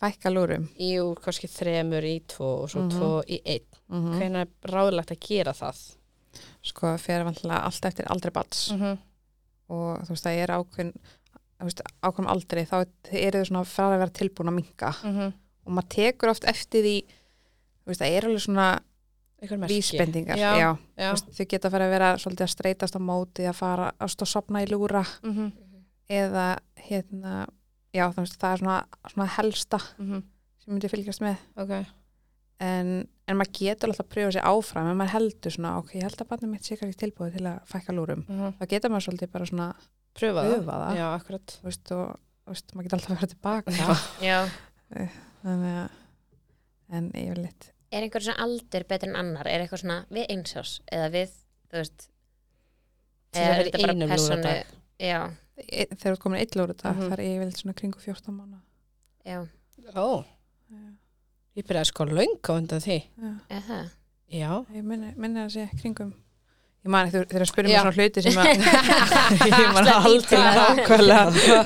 Fækka lúrum.
Í úr kannski þremur í tvo og svo
Mhm.
tvo í einn.
Mm -hmm.
Hvernig er ráðlegt að gera það?
Sko, fyrir vantilega allt eftir aldrei bats.
-hmm.
Og þú veist, það er ákveðin, þú veist, ákveðum aldrei, þá eru þau svona frá að vera tilbúin að minka.
Mm -hmm.
Og maður tekur oft eftir því, þú veist, það eru alveg svona
Ykkur merki.
vísbendingar.
Já,
Já.
Já.
Þú veist, Þau geta að fara að vera svolítið að streytast á móti, að fara að stó sopna í lúra.
Mm -hmm.
eða hérna já þú veist það er svona, svona helsta
Mm
sem myndi fylgjast með
Ok.
en, en maður getur alltaf að pröfa sér áfram en maður heldur svona ok, ég held að barnið mitt sé kannski tilbúið til að fækka lúrum
Mm -hmm.
þá getur maður svolítið bara svona
Pröfa það.
pröfa það
Já, akkurat.
þú veist og þú veist, maður getur alltaf að vera tilbaka
já,
þannig að en yfirleitt
er einhver svona aldur betur en annar er eitthvað svona við einsás eða við, þú veist
Til að
eða
vera
er
í
þetta bara
einum
persónu-
lúðradag.
já,
E- þegar þú ert komin eitt lóru dag,
Mhm.
það er yfirleitt svona kringu 14 mánu
já,
Ó, ég byrjaði sko löngu undan því.
eða það
Já. <laughs>
ég minni, minni að segja kringum ég man ekki þegar að
Já.
spyrja mig svona hluti
<laughs>
sem að ég man
Slett
aldrei
illa.
nákvæmlega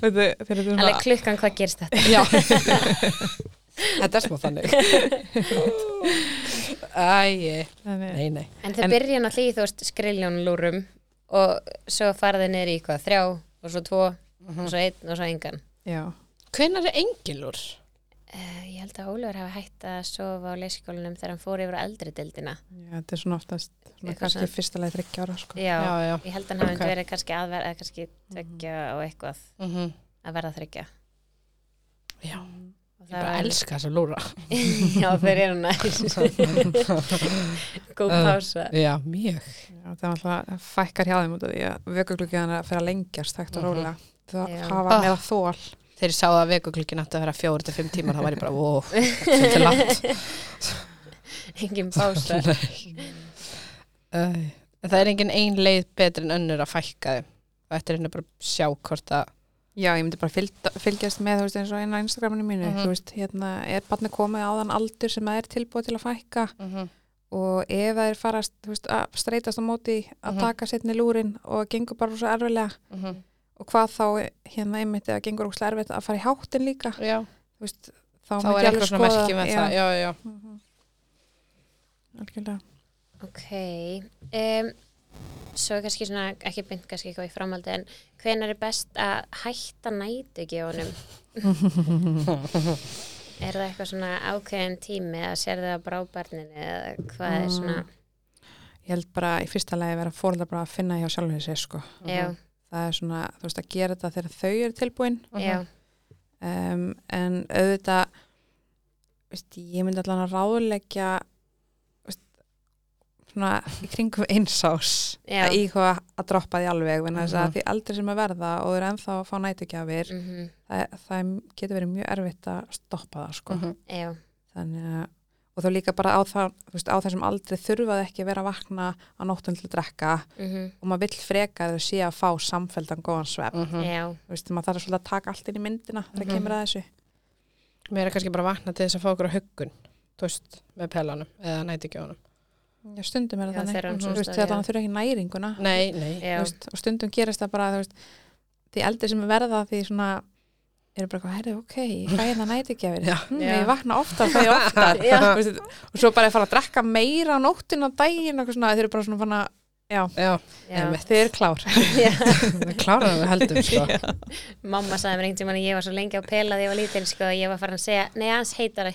Veitu, þegar þetta er svona
alveg klukkan hvað gerist þetta
Já <laughs> Þetta er smá
<laughs>
þannig Æi,
Þannig-
nei, nei
en þau
En-
byrja náttúrulega í þú veist skriljón lúrum og svo fara þau niður í hvað, þrjá og svo tvo
Mhm.
og svo einn og svo engan
já,
Hvenær er engilur?
uh, ég held að Ólfur hafi hægt að sofa á leyskólinum þegar hann fór yfir á eldri dildina
já, þetta er svona oftast svona
Eitthvað
kannski
svona.
fyrsta leið 30 ára sko.
já,
Já, já
ég held að hann hafi
Ok.
verið kannski aðverð eða kannski tveggja og eitthvað
mm
að verða þryggja
Já, ég
Og það
bara
var- <laughs>
elska þessa lúra
já, þeir eru næs
<laughs>
góð
Uh,
pása
Já, mjög
Já, það var alltaf það fækkar hjá þeim út af því að vökugluggjana fer að lengjast hægt og
Mhm.
rólega það
Já.
hafa
Ah.
meða þól
Þegar ég sá það að vekuklukkin átti að vera fjóri til fimm tímar þá var ég bara,
<laughs>
ó, þetta er langt
engin
<laughs>
pása
Æ. En Það er engin ein leið betur en önnur að fækka þau og þetta er henni bara að sjá hvort að
Já, ég myndi bara fylgda, fylgjast með, þú veist, eins og einn á Instagraminu mínu,
Mhm.
þú veist, hérna, er barnið komið á þann aldur sem það er tilbúið til að fækka
Mhm,
og ef það er fara, þú veist, að streytast á móti að
Mhm.
taka setni lúrin og gengur bara svo erfilega og hvað þá, hérna, einmitt eða gengur úr erfitt að fara í háttin líka,
Já,
þú veist, þá,
þá er eitthvað svona merki með það Já, já,
Mhm. Algjörlega.
ok um, svo er kannski svona ekki beint kannski eitthvað í framhaldi en hvenær er best að hætta næti ekki
<laughs>
honum er það eitthvað svona ákveðin tími eða sér það bara á barninu eða hvað er svona
Mm, Ég held bara í fyrsta lagi vera fórhaldar bara að finna hjá sjálfur sér, sko.
já,
Það er svona, þú veist, að gera þetta þegar þau eru tilbúin
Mhm.
já,
um, en auðvitað veist, ég myndi allan að ráðleggja veist, svona í kringum einsás
Já.
að íhuga að droppa því alveg vegna þess
Mhm.
að því aldrei sem að verða og þau eru ennþá að fá nætugjafir
mm
það, það getur verið mjög erfitt að stoppa það sko.
Mhm.
já
þannig að og þá líka bara á, það, þú veist, á þessum aldrei þurfaði ekki að vera að vakna á nóttum til að drekka
mm
og maður vill frekar að sé að fá samfeldan góðan svefn
Mhm.
já,
þú veist, maður þarf svolítið að taka allt inn í myndina þegar
Mhm.
kemur að þessu
Mér er kannski bara vakna til þess að fá okkur að huggun þú veist, með pelanum eða nætugjónum
Já, stundum er
Já,
það
þegar hann
þannig.
svo
Þú veist,
stór,
þegar
já.
hann þurfa ekki næringuna.
Nei, nei,
já
Þú veist, og stundum gerist það bara, þú veist, því eldri sem verða því svona, eru bara eitthvað, herrið, ok, hvað er það næti ekki að
Já.
vera? Hmm,
Já.
ég vakna oftar, það er <laughs> oftar.
Já.
Þú veist, og svo bara að fara að drekka meira á nóttin á daginn og eitthvað svona, þeir eru bara svona fann að, <laughs> já,
já,
já.
<laughs>
einmitt.
þeir eru klár.
<laughs>
<laughs>
Já.
við kláraðum við heldum sko.
mamma sagði mér einhvern tímann að ég var svo lengi á pela þegar ég var lítil sko að ég var farin að segja nei, hans
<laughs>
heitari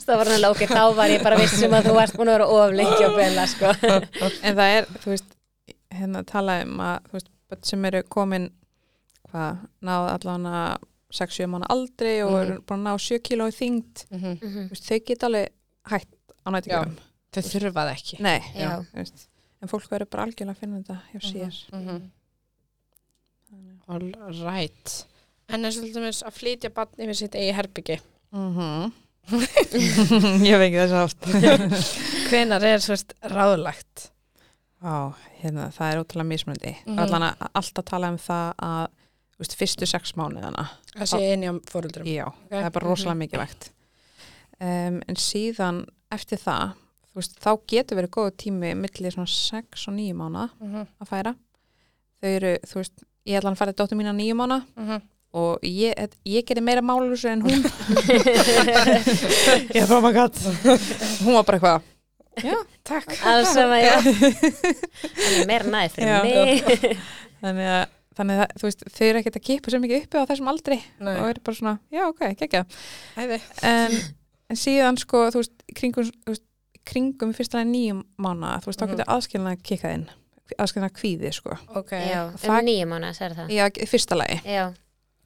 það var hann lókið, þá var ég bara vissum að þú varst búin að vera of lengi á pela sko
en það er, þú veist, hérna tala um að, þú veist, börn sem eru komin, hvað, náð allan að 6-7 mánu aldri og
Mhm.
eru bara að ná 7 kíló í þyngd
Mhm.
Mhm.
Þú veist, þau geta alveg hætt á nætingum
þau þurfa það ekki
Nei,
já,
Já.
þú veist. en fólk verður bara algjörlega að finna þetta hjá sér
Mhm. all right en er svolítið með að flytja barn yfir sitt eigi herbyggi
Ég veit ekki þess að oft
hvenar er svolítið ráðlagt
Á, hérna, það er ótrúlega mismunandi
Mhm.
mm. allan að alltaf tala um það að þú veist, fyrstu sex mánuðana
að sé eini á fóruldurum
Já, það er bara rosalega mikilvægt um, en síðan eftir það, þú veist, þá getur verið góð tími millir svona 6 og 9 mánuða
Mhm,
að færa þau eru, þú veist, ég ætla að færa dóttur mína 9 mánuða
mhm.
og ég, ég gerði meira málusu en hún ég bara, oh my god hún var bara eitthvað já, takk
alls sama, já hann er meira næði
Já.
fyrir <laughs> mig
þannig að, þannig að þú veist, þau eru ekkert að kipa svo mikið uppi á þessum aldri og eru bara svona, já ok, gekkja en, en síðan sko, þú veist, í kringum, þú veist, í kringum fyrst alveg nýjum mánu þú veist, þá
Mhm.
getur aðskilna kikkað inn aðskilna kvíði, sko
ok
já, um
Það-
nýjum mánu, sagði það
já, í fyrsta lagi,
já,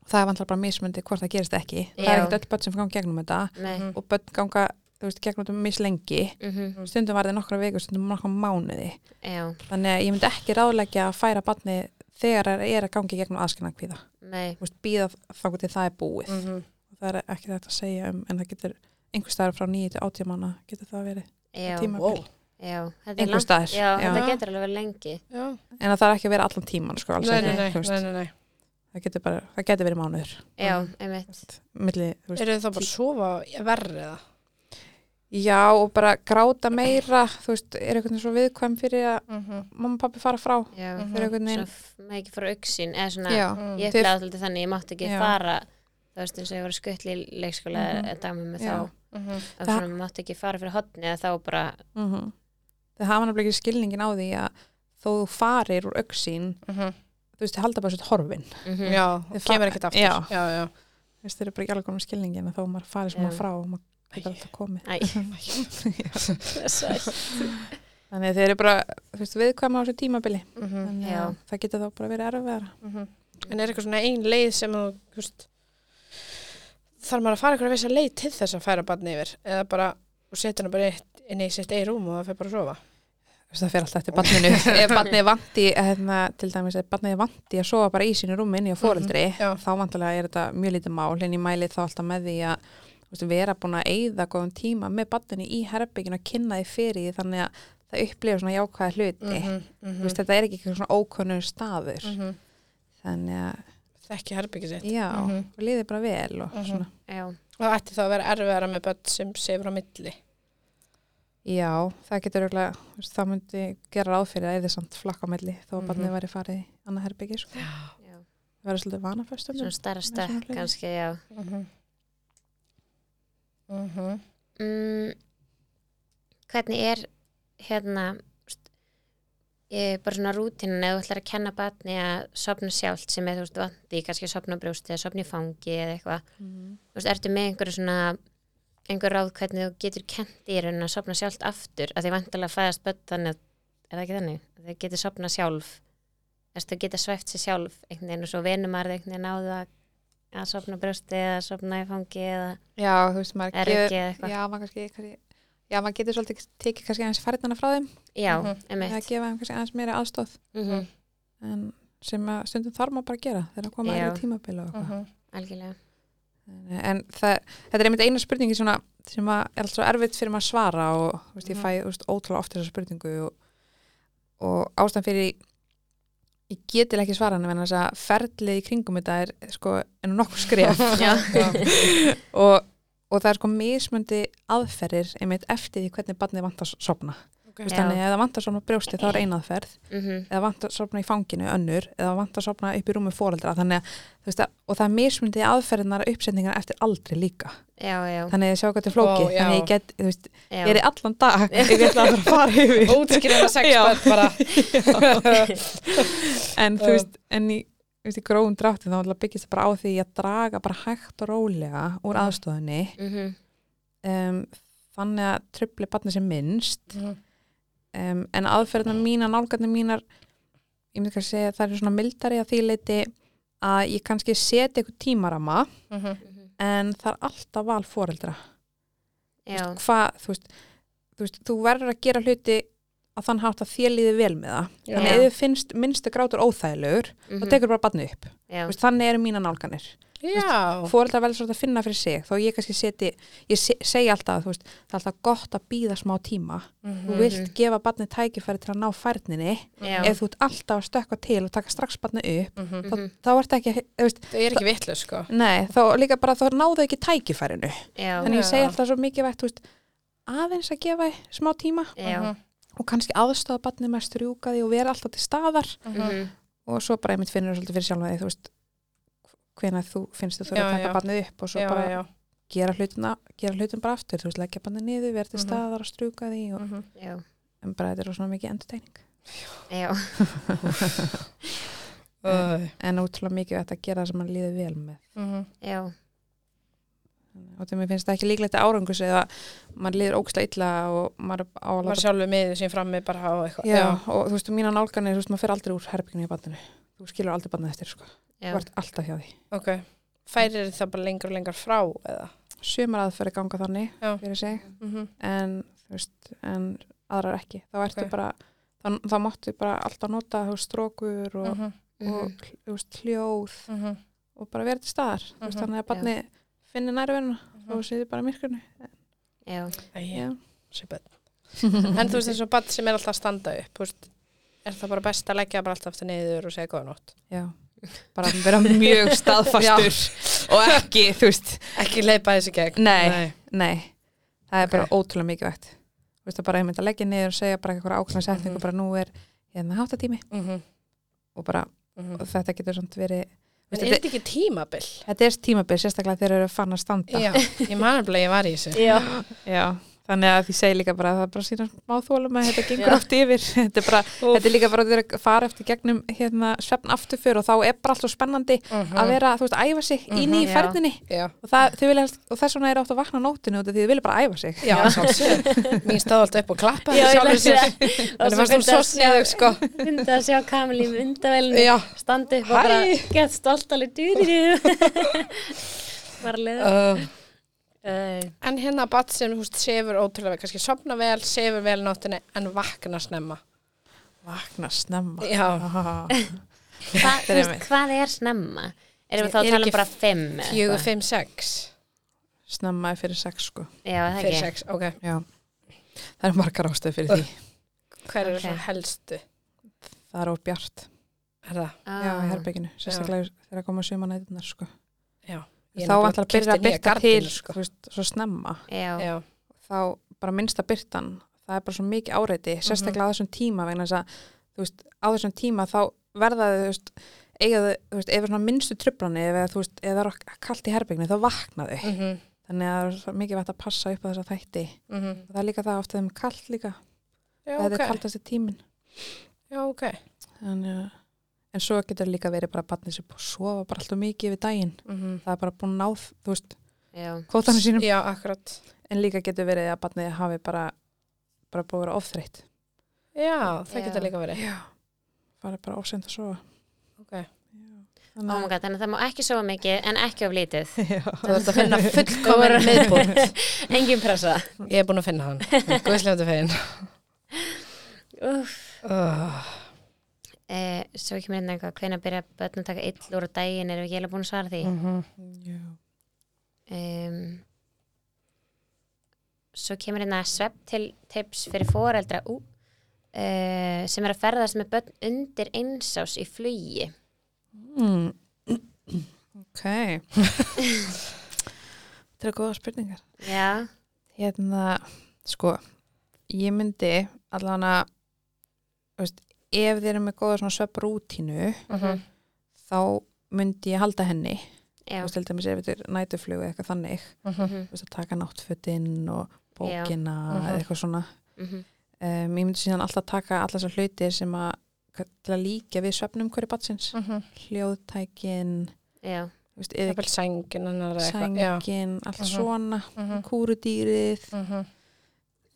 það er vantilega bara mismundi hvort það gerist ekki, það
Já.
er ekkert öll börn sem ganga gegnum þetta
nei
Mhm.
og börn ganga, þú veist, gegnum þetta mislengi
mhm,
stundum var það nokkra vikur, stundum nokkra mánuði
já,
þannig að ég myndi ekki ráðleggja að færa barni þegar það er að gangi gegnum aðskilnakvíða
nei
þú veist, býða þá til það er búið
Mhm.
það er ekki þetta að segja um en það getur einhver staðar frá 9 til 80 mánu getur það verið
já,
tímabil
Wow.
já, þetta er
einhver
langt
staðar,
já,
já.
þetta getur alveg verið lengi
Já.
en það þarf ekki að vera allan tíman sko, alls
Nei,
ekki,
nei, nei,
þú veist.
nei, nei, nei.
það getur bara, það getur verið mánuður
já,
Mhm.
einmitt,
milli, þú veist,
Eru þið þá bara að sofa verri eða?
já og bara gráta meira þú veist, er einhvern veginn svo viðkvæm fyrir að
Mm -hmm.
mamma og pappi fara frá
já
Mhm.
fyrir einhvern
svo
veginn
f- maður ekki fór auksin eða svona,
já,
Mm,
ég
Þeir-
ætlaði alltaf þannig, ég mátti ekki
Já.
fara þú veist eins og ég var skuttli í leikskóla
Mhm.
eða dagmum með
Já.
þá
-hmm.
og
Það-
svona maður mátti ekki fara fyrir hotni eða þá bara,
mm -hmm. það hafa náttúrulega ekki skilningin á því að þó þú farir úr auksín þú veist, þið halda bara svolítið horfin
mhm,
mhm. Já,
Mm. Þið
það
fa-
kemur ekkert aftur.
Já.
já, já.
þú veist, þeir eru bara ekki alveg um skilningin að þó maður farið svona
Já.
frá og maður getur alltaf komið
æ
<laughs>
blessaður.
þannig að þeir eru bara, þú veist, viðkvæma á þessu tímabili
Mm -hmm.
þannig
Já.
að það getur þá bara verið erfiðara
mhm. En er eitthvað svona ein leið sem þú, þú veist, þarf maður að fara eitthvað veist að leið til þess að færa barni yfir? Eða bara, og setja hana bara eitt, inn í sitt eigin rúm og það fer bara að sofa?
Þú veist, það fer alltaf eftir barninu ef barnið er vandi, hérna, til dæmis ef barnið er vandi að sofa bara í sínu rúmi inni á fóreldri
Já.
þá vantilega er þetta mjög lítið mál en ég mæli þá alltaf með því að þú veist, vera búin að eyða góðum tíma með barninu í herbygginu og kynna því fyrir því þannig að það upplifa svona jákvæða hluti
mm
Þú veist, þetta er ekki eitthvað svona ókönnu staður
-hmm.
þannig að,
Þekki herbyggið sitt.
já, mm
Mhm.
líði bara vel og
Mhm.
svona
já,
Það ætti þá að vera erfiðara með börn sem sefur á milli.
Já, það getur auðvitað, það myndi gera ráð fyrir að það er samt flakk á milli þó að
Mhm.
barnið væri farið í annað herbyggi sko.
já,
það verður svolítið vanaföstum
svona starra stökk
hluti.
kannski, já
Mm -hmm. Mm -hmm.
mm, hvernig er hérna st- ég, bara svona rútinin eða þú ætlar að kenna batni að sopna sjálft sem er þú veist vandi, kannski að sopna á brjósti eða sopna í fangi eða eitthvað þú veist, ertu með einhverju svona einhver ráð hvernig þú getur kent í raunin að sopna sjálft aftur, að því vantilega fæðast börn þannig, að- er það ekki þannig að þau getur sopna sjálf Þess, þau geta svæft sér sjálf einhvern veginn og svo venum maður einhvern veginn á það að, að sopna á brjósti eða sopna í fangi eða
Já, þú veist, maður
er
gefur-
ekki eða eitthvað
Já, maður kannski, kannski Já, maður getur svolítið tekið kannski aðeins færðana frá þeim
Já,
Mhm.
emitt
að gefa þeim kannski aðeins meira aðstóð
Mhm.
en sem að stundum þarf maður bara að gera þegar að koma
Já.
eða tímabili og eitthvað
Mhm.
<laughs>
Algjörlega.
En það, þetta er einmitt eina spurningi svona, sem að er alltaf svo erfitt fyrir maður að svara og þú veist, ég
Mhm.
fæ þú veist, ótrúlega oft þessa spurningu og, og ástæðan fyrir ég getil ekki svara hann en þess að ferlið í kringum þetta er sko enn nokkuð
<laughs>
skref
Já.
og, og það er sko mismundi aðferðir einmitt eftir því hvernig barnið vant að sopna
Ok.
Þú veist,
Já.
þannig að ef það vant að sopna á brjósti þá er eina aðferð
Mhm.
eða vant að sopna í fanginu önnur eða vant að sopna upp í rúmi fóreldra þannig að þú veist að, og það er mismundi aðferðinar og uppsetningar eftir aldrei líka
Já, já,
þannig að ég sjá hvað þetta er flókið
Vá, já.
þannig að ég get, þú veist,
já.
ég er í allan dag ég ætla að fara að fara yfir
Útskrifa sex börn
<laughs>
bara.
en þú veist, en í, þú veist, í gróðum dráttum þá náttúrulega byggist það bara á því að draga bara hægt og rólega úr aðstoðinni
Mhm.
um, þannig að trubli barni sem minnst
Mhm.
um, en aðferðna mínar, nálgarnir mínar ég myndi kannski segja að það er svona mildari að því leiti að ég kannski seti eitthvað tímarama
Mhm.
Mhm.
en það er alltaf val fóreldra
Já,
hvað, þú veist, þú veist, þú verður að gera hluti að þann hátt að þér líði vel með það.
Já.
Þannig að ef þið finnst minnstu grátur óþægilegur,
mhm.
þá tekur bara barni upp.
Já,
Þú Veist, þannig eru mína nálganir.
Já.
Fóreldrar verður svolítið að finna fyrir sig, þó ég kannski seti, ég se, segi alltaf, þú veist, það er alltaf gott að býða smá tíma.
Mhm.
Þú vilt gefa barni tækifæri til að ná færninni,
já.
ef þú ert alltaf að stökka til og taka strax barni upp,
Mhm.
Mhm.
þá ert ekki, að- þú veist,
Það er ekki vitlega, sko.
nei, þá líka bara þá náðu ekki tækifærinu.
Já,
Þannig ég segi
Já.
alltaf svo mikið vett, þú veist, aðeins að gefa því smá tíma
Mhm.
já.
og kannski aðstofa barnið með að strjúka því og vera alltaf til staðar
Mhm.
Mhm.
og svo bara einmitt finnur þú svolítið fyrir sjálfa því þú veist hvenær þú finnst þú þurfa
Já,
að taka
já.
barnið upp og svo
Já,
bara
já.
gera hlutin gera hlutin bara aftur, þú veist, leggja barnið niður vera til
Mhm.
staðar og strjúka því og,
Mhm.
Já,
en bara þetta er svona mikið endurtegning
já.
Æ.
en útrúlega mikið þetta að gera það sem mann líður vel með
Mhm.
Já,
og þegar mér finnst það ekki líklegt að árangus eða mann líður óksla illa og maður er á að
Var
láta
sjálfur miður sín frammi bara og eitthvað.
Já, og þú veist, mína nálganir, þú veist, maður fer aldrei úr herbygginu í bandinu. Þú skilur aldrei bandið eftir, sko. Þú
já.
ert alltaf hjá því.
Ok. Færir það bara lengur og lengur frá eða?
Sumar aðferði ganga þannig
Já.
fyrir sig
Mhm.
en, þú veist, en aðrar ekki þá ertu
Ok.
bara þá, þá máttu bara alltaf nota þú veist, strókur og,
Mhm.
og
Mhm.
þú veist, hljóð
Mhm.
og bara vera til staðar þú veist,
Mhm.
þannig að barni finni nærveruna og sýði bara í myrkurnu
Já,
Mhm.
Já.
en
<laughs>
þú veist eins og bann sem er alltaf að standa upp þú veist, er það bara best að leggja bara alltaf aftur niður og segja góða nótt
Já, bara vera mjög staðfastur og ekki, þú veist,
e- ekki leipa þessi gegn
Nei. nei, það er bara
Ok.
ótrúlega mikilvægt Þú veist, að bara einmitt að leggja niður og segja bara eitthvað ákveðan setningu,
Mhm.
bara nú er hérna háttatími
Mm -hmm.
og bara, og þetta getur samt verið
en
þú veist,
er
þetta,
mhm. þetta ekki tímabil?
þetta er tímabil, sérstaklega þegar þeir eru fann að standa
Já, ég manum að ég var í þessu
já.
Já, þannig að því segi líka bara að það er bara sína smá þólum að þetta gengur oft yfir <laughs> þetta er, bara, þetta er líka bara að þeir að fara eftir gegnum hérna, svefn aftur fyrir og þá er bara alltaf spennandi að vera, þú veist, að æfa sig inn í
Mhm, já.
ferðinni
mhm. Já,
og, það, þau vilja helst, og þess vegna er átt að vakna á nóttinu út af því þau vilja bara æfa sig
já, sjálfsög Mín stóð alltaf upp og klappa
Já, ég lesi það.
En það fannst hún svo sniðug sko
Fyndi að sjá Kamil í myndavælinu
Já,
standa upp og bara
Hæ.
gett stolt alveg dýrir <laughs> bara leður
uh,
uh,
en hérna bat sem húst sefur ótrúlega vel, kannski sopna vel, sefur vel náttinni en vakna snemma
Vakna snemma
Já,
Ah.
hva,
Þetta er
veist,
einmitt.
hvað er snemma? erum við þá að
Er
tala
ekki
um bara fimm? eða
fjögur,
eitthvað?
fimm, sex
<laughs> Snemma er fyrir sex sko
já, það
Fyrir
ekki
sex, ok
Já, það er margar ástöð fyrir því
Hver eru
Ok.
svona helstu?
Það er of bjart
Er það?
Ah.
Já, í herbygginu, sérstaklega þegar koma sjö mannætunar sko
Já Ég er
Þá
nefnilega
ætla að byrja
keypti
að
nýja
byrta
gardínu,
til
sko.
þú veist, svo snemma
já,
Já,
þá bara minnsta byrtan það er bara svo mikið áreiti,
Mhm.
sérstaklega á þessum tíma vegna þess að, þú veist, á þessum tíma þá verða þau, þú veist eiga þau, þú veist, ef er svona minnstu tröflani eða þú veist, eða það er ok- kalt í herbygginu þá vakna þau,
mhm,
þannig að það er svo mikið vært að passa upp á þessa þætti
mhm
og það er líka það ofta þeim er kalt líka
Já,
það
ok
er kaltasti tímin
Já, ok
þannig að En svo getur líka verið bara að batnið sér og sofa bara alltaf mikið yfir daginn.
Mhm.
Það er bara búin að náð, þú veist,
já,
kvótanum sínum.
Já, akkurat
En líka getur verið að batnið hafi bara, bara búið að vera ofþreytt.
Já, það
Já.
getur líka verið
Já, farið bara ósend að sofa.
Ok.
oh my
Þannig
god, þannig að það má ekki sofa mikið en ekki of lítið
Þú ert að finna fullkomur miðbúnt
<laughs> engin pressa
Ég er búin að finna hann. Guðslega fegin.
Úff.
Uh,
eh, svo ekki mér inn eitthvað hvenær byrja börn að taka ill úr á daginn erum við ekki alveg búin að svara
Mm.
því
að já.
um, svo kemur hérna svepp til tips fyrir foreldra ú, uh, sem er að ferðast með börn undir einsás í flugi
Mm. Ok. Þetta er góða spurningar.
já,
Hérna, sko, ég myndi allan að, þú veist, ef þið eru með góða svona svepprútínu, þá myndi ég halda henni.
já,
Þú veist, held að mér sér ef þetta er nætuflug eða eitthvað þannig.
mhm,
Þú veist, að taka náttfötinn og
Já.
bókina
Mhm.
eða eitthvað svona.
mhm,
um, ég myndi síðan alltaf taka allar þessar hlutir sem að til að líka við svefnum hverju batsins
Mhm.
Mm.
hljóðtækin
já
þú veist,
Það
eða
er vel sængin hennar eða eitthvað. Já.
sængin, allt
Mhm.
svona
Mhm,
kúrudýrið,
mhm,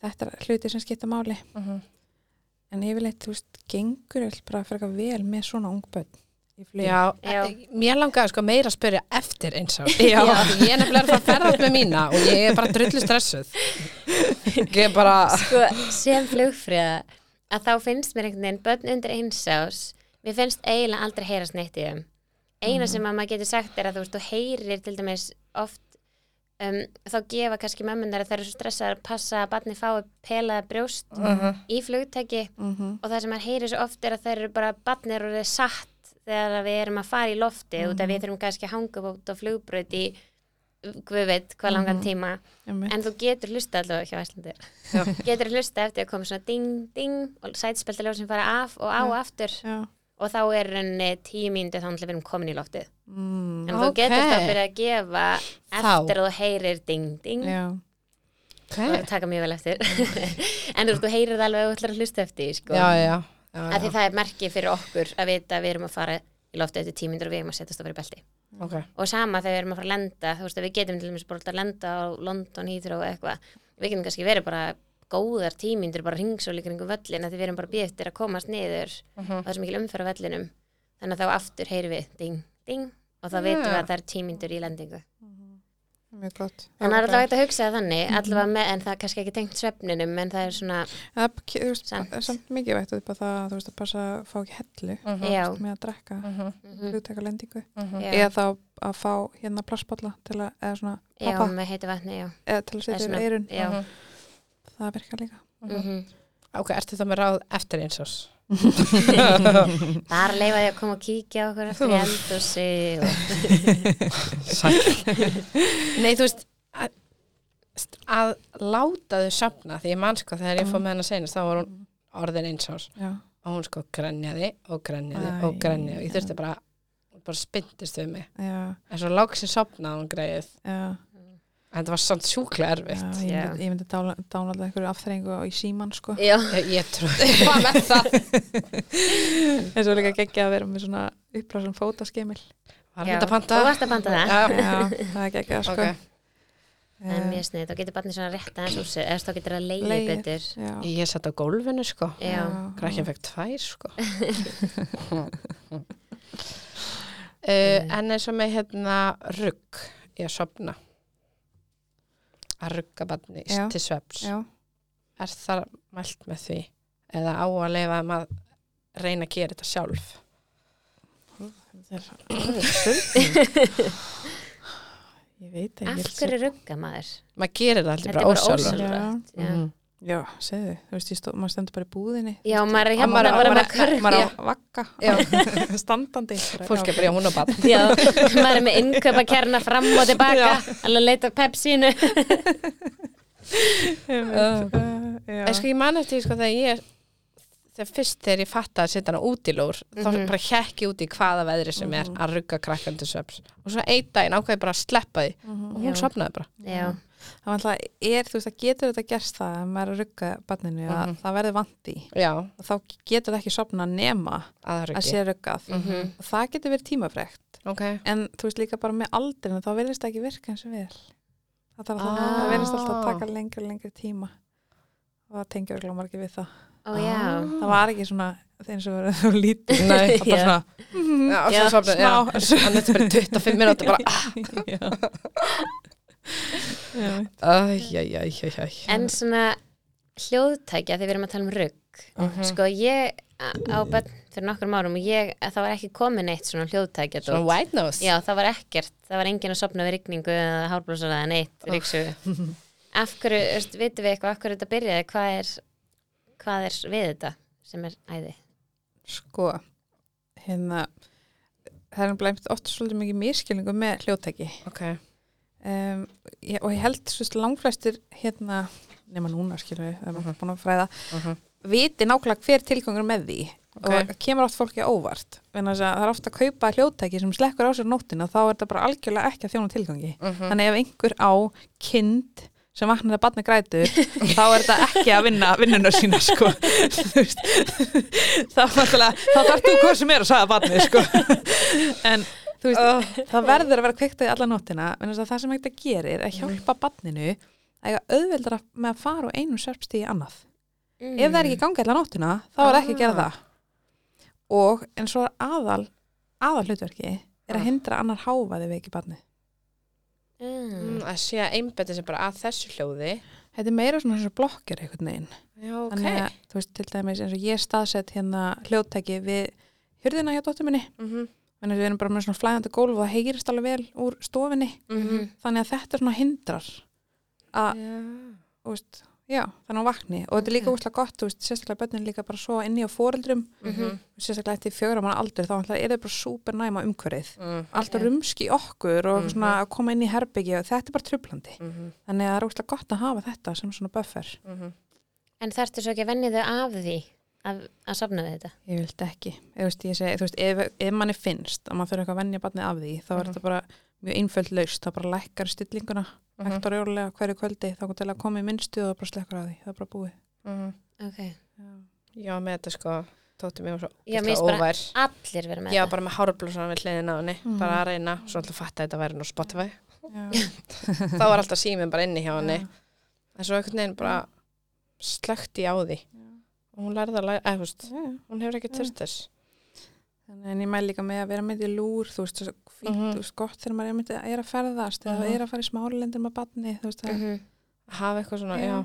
þetta er hlutir sem skipta máli
mhm.
en yfirleitt, þú veist, gengur öll bara fyrir eitthvað vel með svona ungbönn í flug
Já,
Já.
eh, mér langaði sko meira að spyrja eftir eins og
Já.
ég er nefnilega að fara að ferðast með mína og ég er bara drullu stressuð ég er bara
sko, sem flugfröða að þá finnst mér einhvern veginn börn undir einsás mér finnst eiginlega aldrei heyrast neitt í þeim eina sem að maður getur sagt er að þú veist, þú heyrir til dæmis oft um, þá gefa kannski mömmunar að það eru svo stressaðar að passa að barni fái pelaða brjóst í flugtæki
mm
og það sem maður heyrir svo oft er að það eru bara barnir og það er satt þegar að við erum að fara í lofti út af við þurfum kannski að hanga upp út á flugbraut í guð veit hvað langan tíma En þú getur hlusta allavega hjá Æslandi
Já.
Getur hlusta eftir að koma svona ding, ding og sætispeltaljóð sem fara af og á aftur
Já.
og þá er henni tíu mínútu þannig að við erum komin í loftið
Mm.
En þú getur
Ókei.
það að byrja að gefa
Þá.
eftir að þú heyrir ding, ding
Já.
og
okay.
taka mjög vel eftir <laughs> En þú, veist, þú heyrir það alveg og þú ætlar að hlusta eftir því, sko.
já, já, já,
Af
já.
því það er merki fyrir okkur að vita að við erum að fara í loftið eftir tíu mínútur og við erum að setjast að vera í belti
ok
og sama þegar við erum að fara að lenda þú veist að við getum til dæmis bara alltaf að lenda á London, Heathrow og eitthvað við getum kannski verið bara góðar tímyndur bara ringsóli kringum völlin að við erum bara býð eftir að komast niður
Mhm.
og það er svo mikil umferð á vellinum þannig að þá aftur heyrum við ding, ding og þá
Já.
veitum við að það er tímyndur í lendingu
Mhm. mjög gott
En Mm. það er alltaf hægt að hugsa það þannig, allavega með, en það er kannski ekki tengt svefninum, en það er svona,
Það er ke- þú veist,
Samt.
það er samt mikið veitt upp að það, þú veist, að passa að fá ekki hellu
já,
með að drekka
mhm,
hugtakalendingu
já,
eða þá að fá hérna plastbolla til að, eða svona
já,
pappa,
með heiti vatni, já,
eða til
það
að
er
setja
svona,
yfir eirun
já,
það virkar líka
mhm.
Ok, ertu það með ráð eftir eins og
bara leifa því að koma og kíkja á okkur eftir í eldhúsi og, <laughs>
Sæll.
Nei, þú veist að, að láta þau safna því ég man sko þegar ég fór með hennar senast þá var hún orðin eins og
já,
og hún sko grenjaði og grenjaði
Æ,
og grenjaði og ég
já.
þurfti bara bara spyndist við mig
já,
en svo lágsi sopnaði hún greið
já,
en þetta var samt sjúklega erfitt
já ég
Já.
myndi, ég myndi dánalda einhverju afþrengu í síman sko
já,
ég, ég trúi hvað með það
eins og líka geggja að vera með svona upplásan fótaskemil
var
já,
þetta panta
þú varst að panta það,
já,
já, það er geggja sko
það
ok
er
Eh,
mjög snið, þá getur barnið svona rétt aðeins úr sig, eða þá getur það leiði
Leið.
betur,
já,
ég sett á gólfinu sko
já,
krakkin fekk tvær sko uh, en eins og með hérna rugg í að sopna að rugga barni
Já.
til sveps
já,
er það mælt með því eða á að leifa að maður reyna að gera þetta sjálf
ég veit ekki
af hverju rugga maður,
maður gerir það
þetta
alltaf
er
bara
bara
ósjálf
ósjálfrátt.
ósjálfrætt, já,
Mhm.
já, segðu, þú veist, ég stó, maður stendur bara í búðinni
já, maður er hérna
maður á-
bara
maður
með
<laughs>
körfu,
maður á
Já.
vakka
Já.
<laughs> standandi
fólk er bara já hún og bann
já, maður er með innkaupa kærna fram og tilbaka, alveg að leita að pepsinu,
bara
en sko ég man eftir því, sko þegar ég þegar fyrst þegar ég fatta að setja hana út í lór
Mhm.
þá bara hekki út í hvaða veðri sem er að rugga krakkan til sveps og svo einn daginn ákvæði bara að sleppa því og hún
Já.
sopnaði bara
já,
Það var alltaf, er, þú veist, það getur þetta gerst það ef maður er að rugga barninu að
Mhm.
það verður vandi
já,
og þá getur það ekki sopna nema
að
að
ruggi
sé ruggað
mhm,
og það getur verið tímafrekt
ok,
en þú veist líka bara með aldrinu þá verðist það ekki virka eins og vel það, þarf alltaf,
Ah.
það verðist alltaf að taka lengri og lengri tíma og það tengjur ekki margir við það
ó já,
Ah.
það var ekki svona þeim sem verður þú lítið
nei
það bara
Já.
svona
já, og svo
Já,
sopnaði, já,
<laughs> smá.
hann er bara 25 minúti bara,
<laughs>
æjæjæjæjæj
En svona hljóðtækja þegar við erum að tala um rugg
Mhm.
sko ég á- á bönn fyrir nokkrum árum og ég, að það var ekki komin eitt svona hljóðtækja
Svona white nose
Já, það var ekkert, það var enginn að sopna við rigningu eða hárblósar eða neitt ríksugu. Af hverju, þú veist, vitum við eitthvað af hverju þetta byrjaði, hvað er hvað er við þetta sem er æði?
sko hérna það er blæmt oft svolítið mikið miskilningu með hljóttæki
Ok,
um, ég, og ég held svo langflestir hérna, nema núna skilur við það er maður búin að fræða
Mhm,
viti nákvæmlega hver tilgangur með því og það kemur oft fólki á óvart Vegna þess að það er ofta að kaupa hljóttæki sem slekkur á sér nóttina þá er þetta bara algjörlega ekki að þjóna tilgangi
mhm.
þannig ef einhver á kind sem vaknar að batna grætur þá er þetta ekki að vinna vinnuna sína sko Þú veist, þá, náttúrulega- þá þarf þú hvað sem er að sagða batni sko en þú veist, það verður að vera kviktað í alla nóttina en það sem þetta gerir er að hjálpa barninu að eiga auðveldara með að fara úr einum sörpstíði í annað ef
Mm.
það er ekki í gangi allan nóttina þá er ekki að gera það og en svo er aðal aðal hlutverki er
Ah.
að hindra annar háfaði veiki barni
Mm.
mm, að sé að einbæti sem bara að þessu hljóði
þetta er meira svona svona blokkir einhvern veginn
Já, ok
þannig að þú veist til dæmis eins og ég er staðsett hérna hljóttæki við hörðina hjá dóttur minni
Mhm,
þannig að við erum bara með svona flæðandi gólf og það heyrist alveg vel úr stofinni
mhm.
þannig að þetta svona hindrar að, þú veist, já, þannig að hún vakni og þetta er líka úrslega gott, þú veist, sérstaklega börnin líka bara svo inni á foreldrum
Mhm.
sérstaklega eftir fjögur á manna aldur þá náttúrulega er þau bara súper næma umhverfið
Mm,
alltaf rumski okkur og svona að koma inn í herbyggi og þetta er bara trublandi
mhm,
þannig að það er óslega gott að hafa þetta sem svona buffer
mhm.
En þarftu svo ekki að venni þau af því að, að sopna við þetta?
ég vildi ekki, Ég veist, ég segi, þú veist ef, ef manni finnst að maður þurfa eitthvað að venja barnið af því
Mhm.
þá er þetta bara mjög einföld laust þá bara lækkar stillinguna
Mhm.
mm -hmm. og jólulega hverju kvöldi þá kom til að koma í minnstu og það bara slekkur á því, það er bara búið
Mhm.
Ok.
Já, með þetta sko Tótti mig og svo
Já, mér
ógeðslega
finnst bara-
óvær
Allir vera með
Já,
þetta.
bara með hárblósana við hliðina á henni bara
Mhm.
að reyna, svo alltaf fatt að þetta væri nú
<laughs>
Spotify
Já.
þá var alltaf síminn bara inni hjá henni en svo einhvern veginn bara slökti á því og hún lærði að læra, eða þú veist
Já.
hún hefur ekki tört þess
Þannig en ég mæl líka með að vera með í lúr, þú veist, svo fínt,
Mhm.
þú veist, gott þegar maður er, myndi, er að ferðast eða
Mhm.
er að fara í smálendur með badni, þú veist, það,
Mhm.
-hmm. hafa eitthvað svona, já
Já.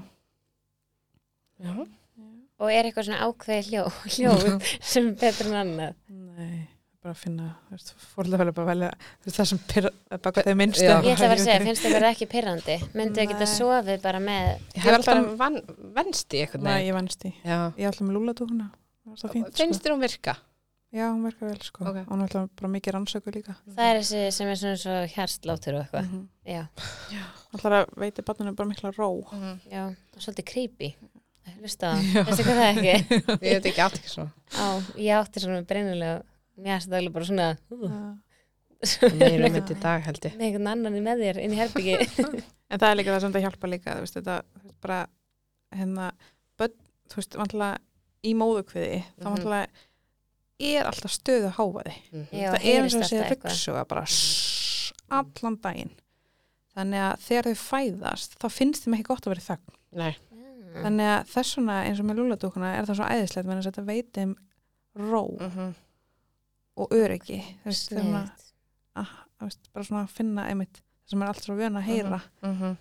já, Mhm.
og er eitthvað svona ákveði hljó, hljóð <laughs> sem er betur en annað
nei, bara að finna, þú veist, fórlega bara að velja, þú veist, það sem pyrra, bara þegar minnst.
Já.
ég ætla bara að
<laughs>
segja, finnst þið verið ekki pyrrandi myndu þið geta
Nei.
sofið bara með
ég
held
hef alltaf van, venst í eitthvað
Nei, ég vannst því.
já,
Ég ætla með lúladúkuna, það var það fínt,
finnst
sko.
þér hún virka
Já, hún verkar vel, sko.
Ok.
Okay. Hún ætla bara mikið rannsöku líka.
það er þessi sem er svona svo hjartlátur og eitthvað
Mhm.
já,
Ætlar að veita badninu bara mikla ró.
Mhm.
já, og svolítið creepy hlusta á það, veistu hvað það er ekki
ég veit ekki allt ekki svona
á, ég átti svona brennilega mér erst daglega bara svona uh,
Mm.
Nei,
einmitt
einmitt í
í
dag held ég
með einhvern annan í með þér inn í herbyggi
En það er líka það sem það hjálpa líka, þú veist, þetta þú veist, bara, hérna, börn, þú veist, vantlega í móðukviði, þá
Mhm.
vantlega er alltaf stöðu hávaði.
Mhm.
já,
það er eins
heyrist
og þessi
alltaf eitthvað Mhm.
ryggsuga bara sss, allan daginn. Þannig að þegar þau fæðast, þá finnst þeim ekki gott að vera í þögn.
Nei,
Já.
Þannig að þess vegna, eins og með lúladúkuna, er það svo æðislegt, menn að þetta veit þeim ró
Mhm.
og öryggi. Þú veist, þegar maður,
Sniðugt.
þú veist, bara svona að finna einmitt, það sem er allt svo vön að heyra.
Mhm.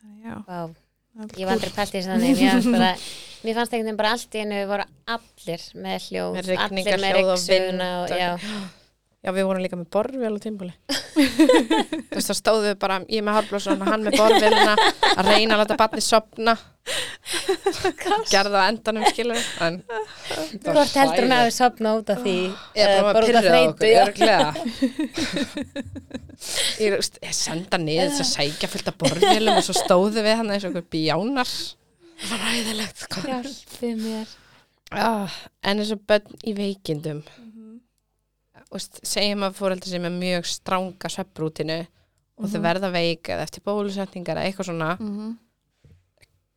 Þannig, já,
Vá,
það er
ég var aldrei pælt í þessu þannig mér fannst bara, mér fannst einhvern veginn bara allt í hennu voru allir með hljóð
Með rigningar,
allir með
hljóð og
ryggsuguna
vind
og,
og-
já,
<gasps> Já, við vorum líka með borðvél á tímbúli Þú veist, þá stóðum við bara ég með hárblósun og hann með borðvélina að reyna að láta barni sopna gerða á endanum skilur en
hvort heldur hún að eh, við sopna út af því
Ég er
eða út
bara að
af
pyrra
þreytu,
okkur,
já.
örglega Ég er úst, ég senda niður þess að sækja fullt af borðvélum og svo stóðu við hann eins og okkur bjánar Það var ræðilegt sko.
hjálpi mér
ah, En eins og börn í veikindum
Mhm.
úst, segjum að fóreldri sem er mjög stranga svepprútinu og þau verða veik eða eftir bólusetningar eða eitthvað svona
Mhm.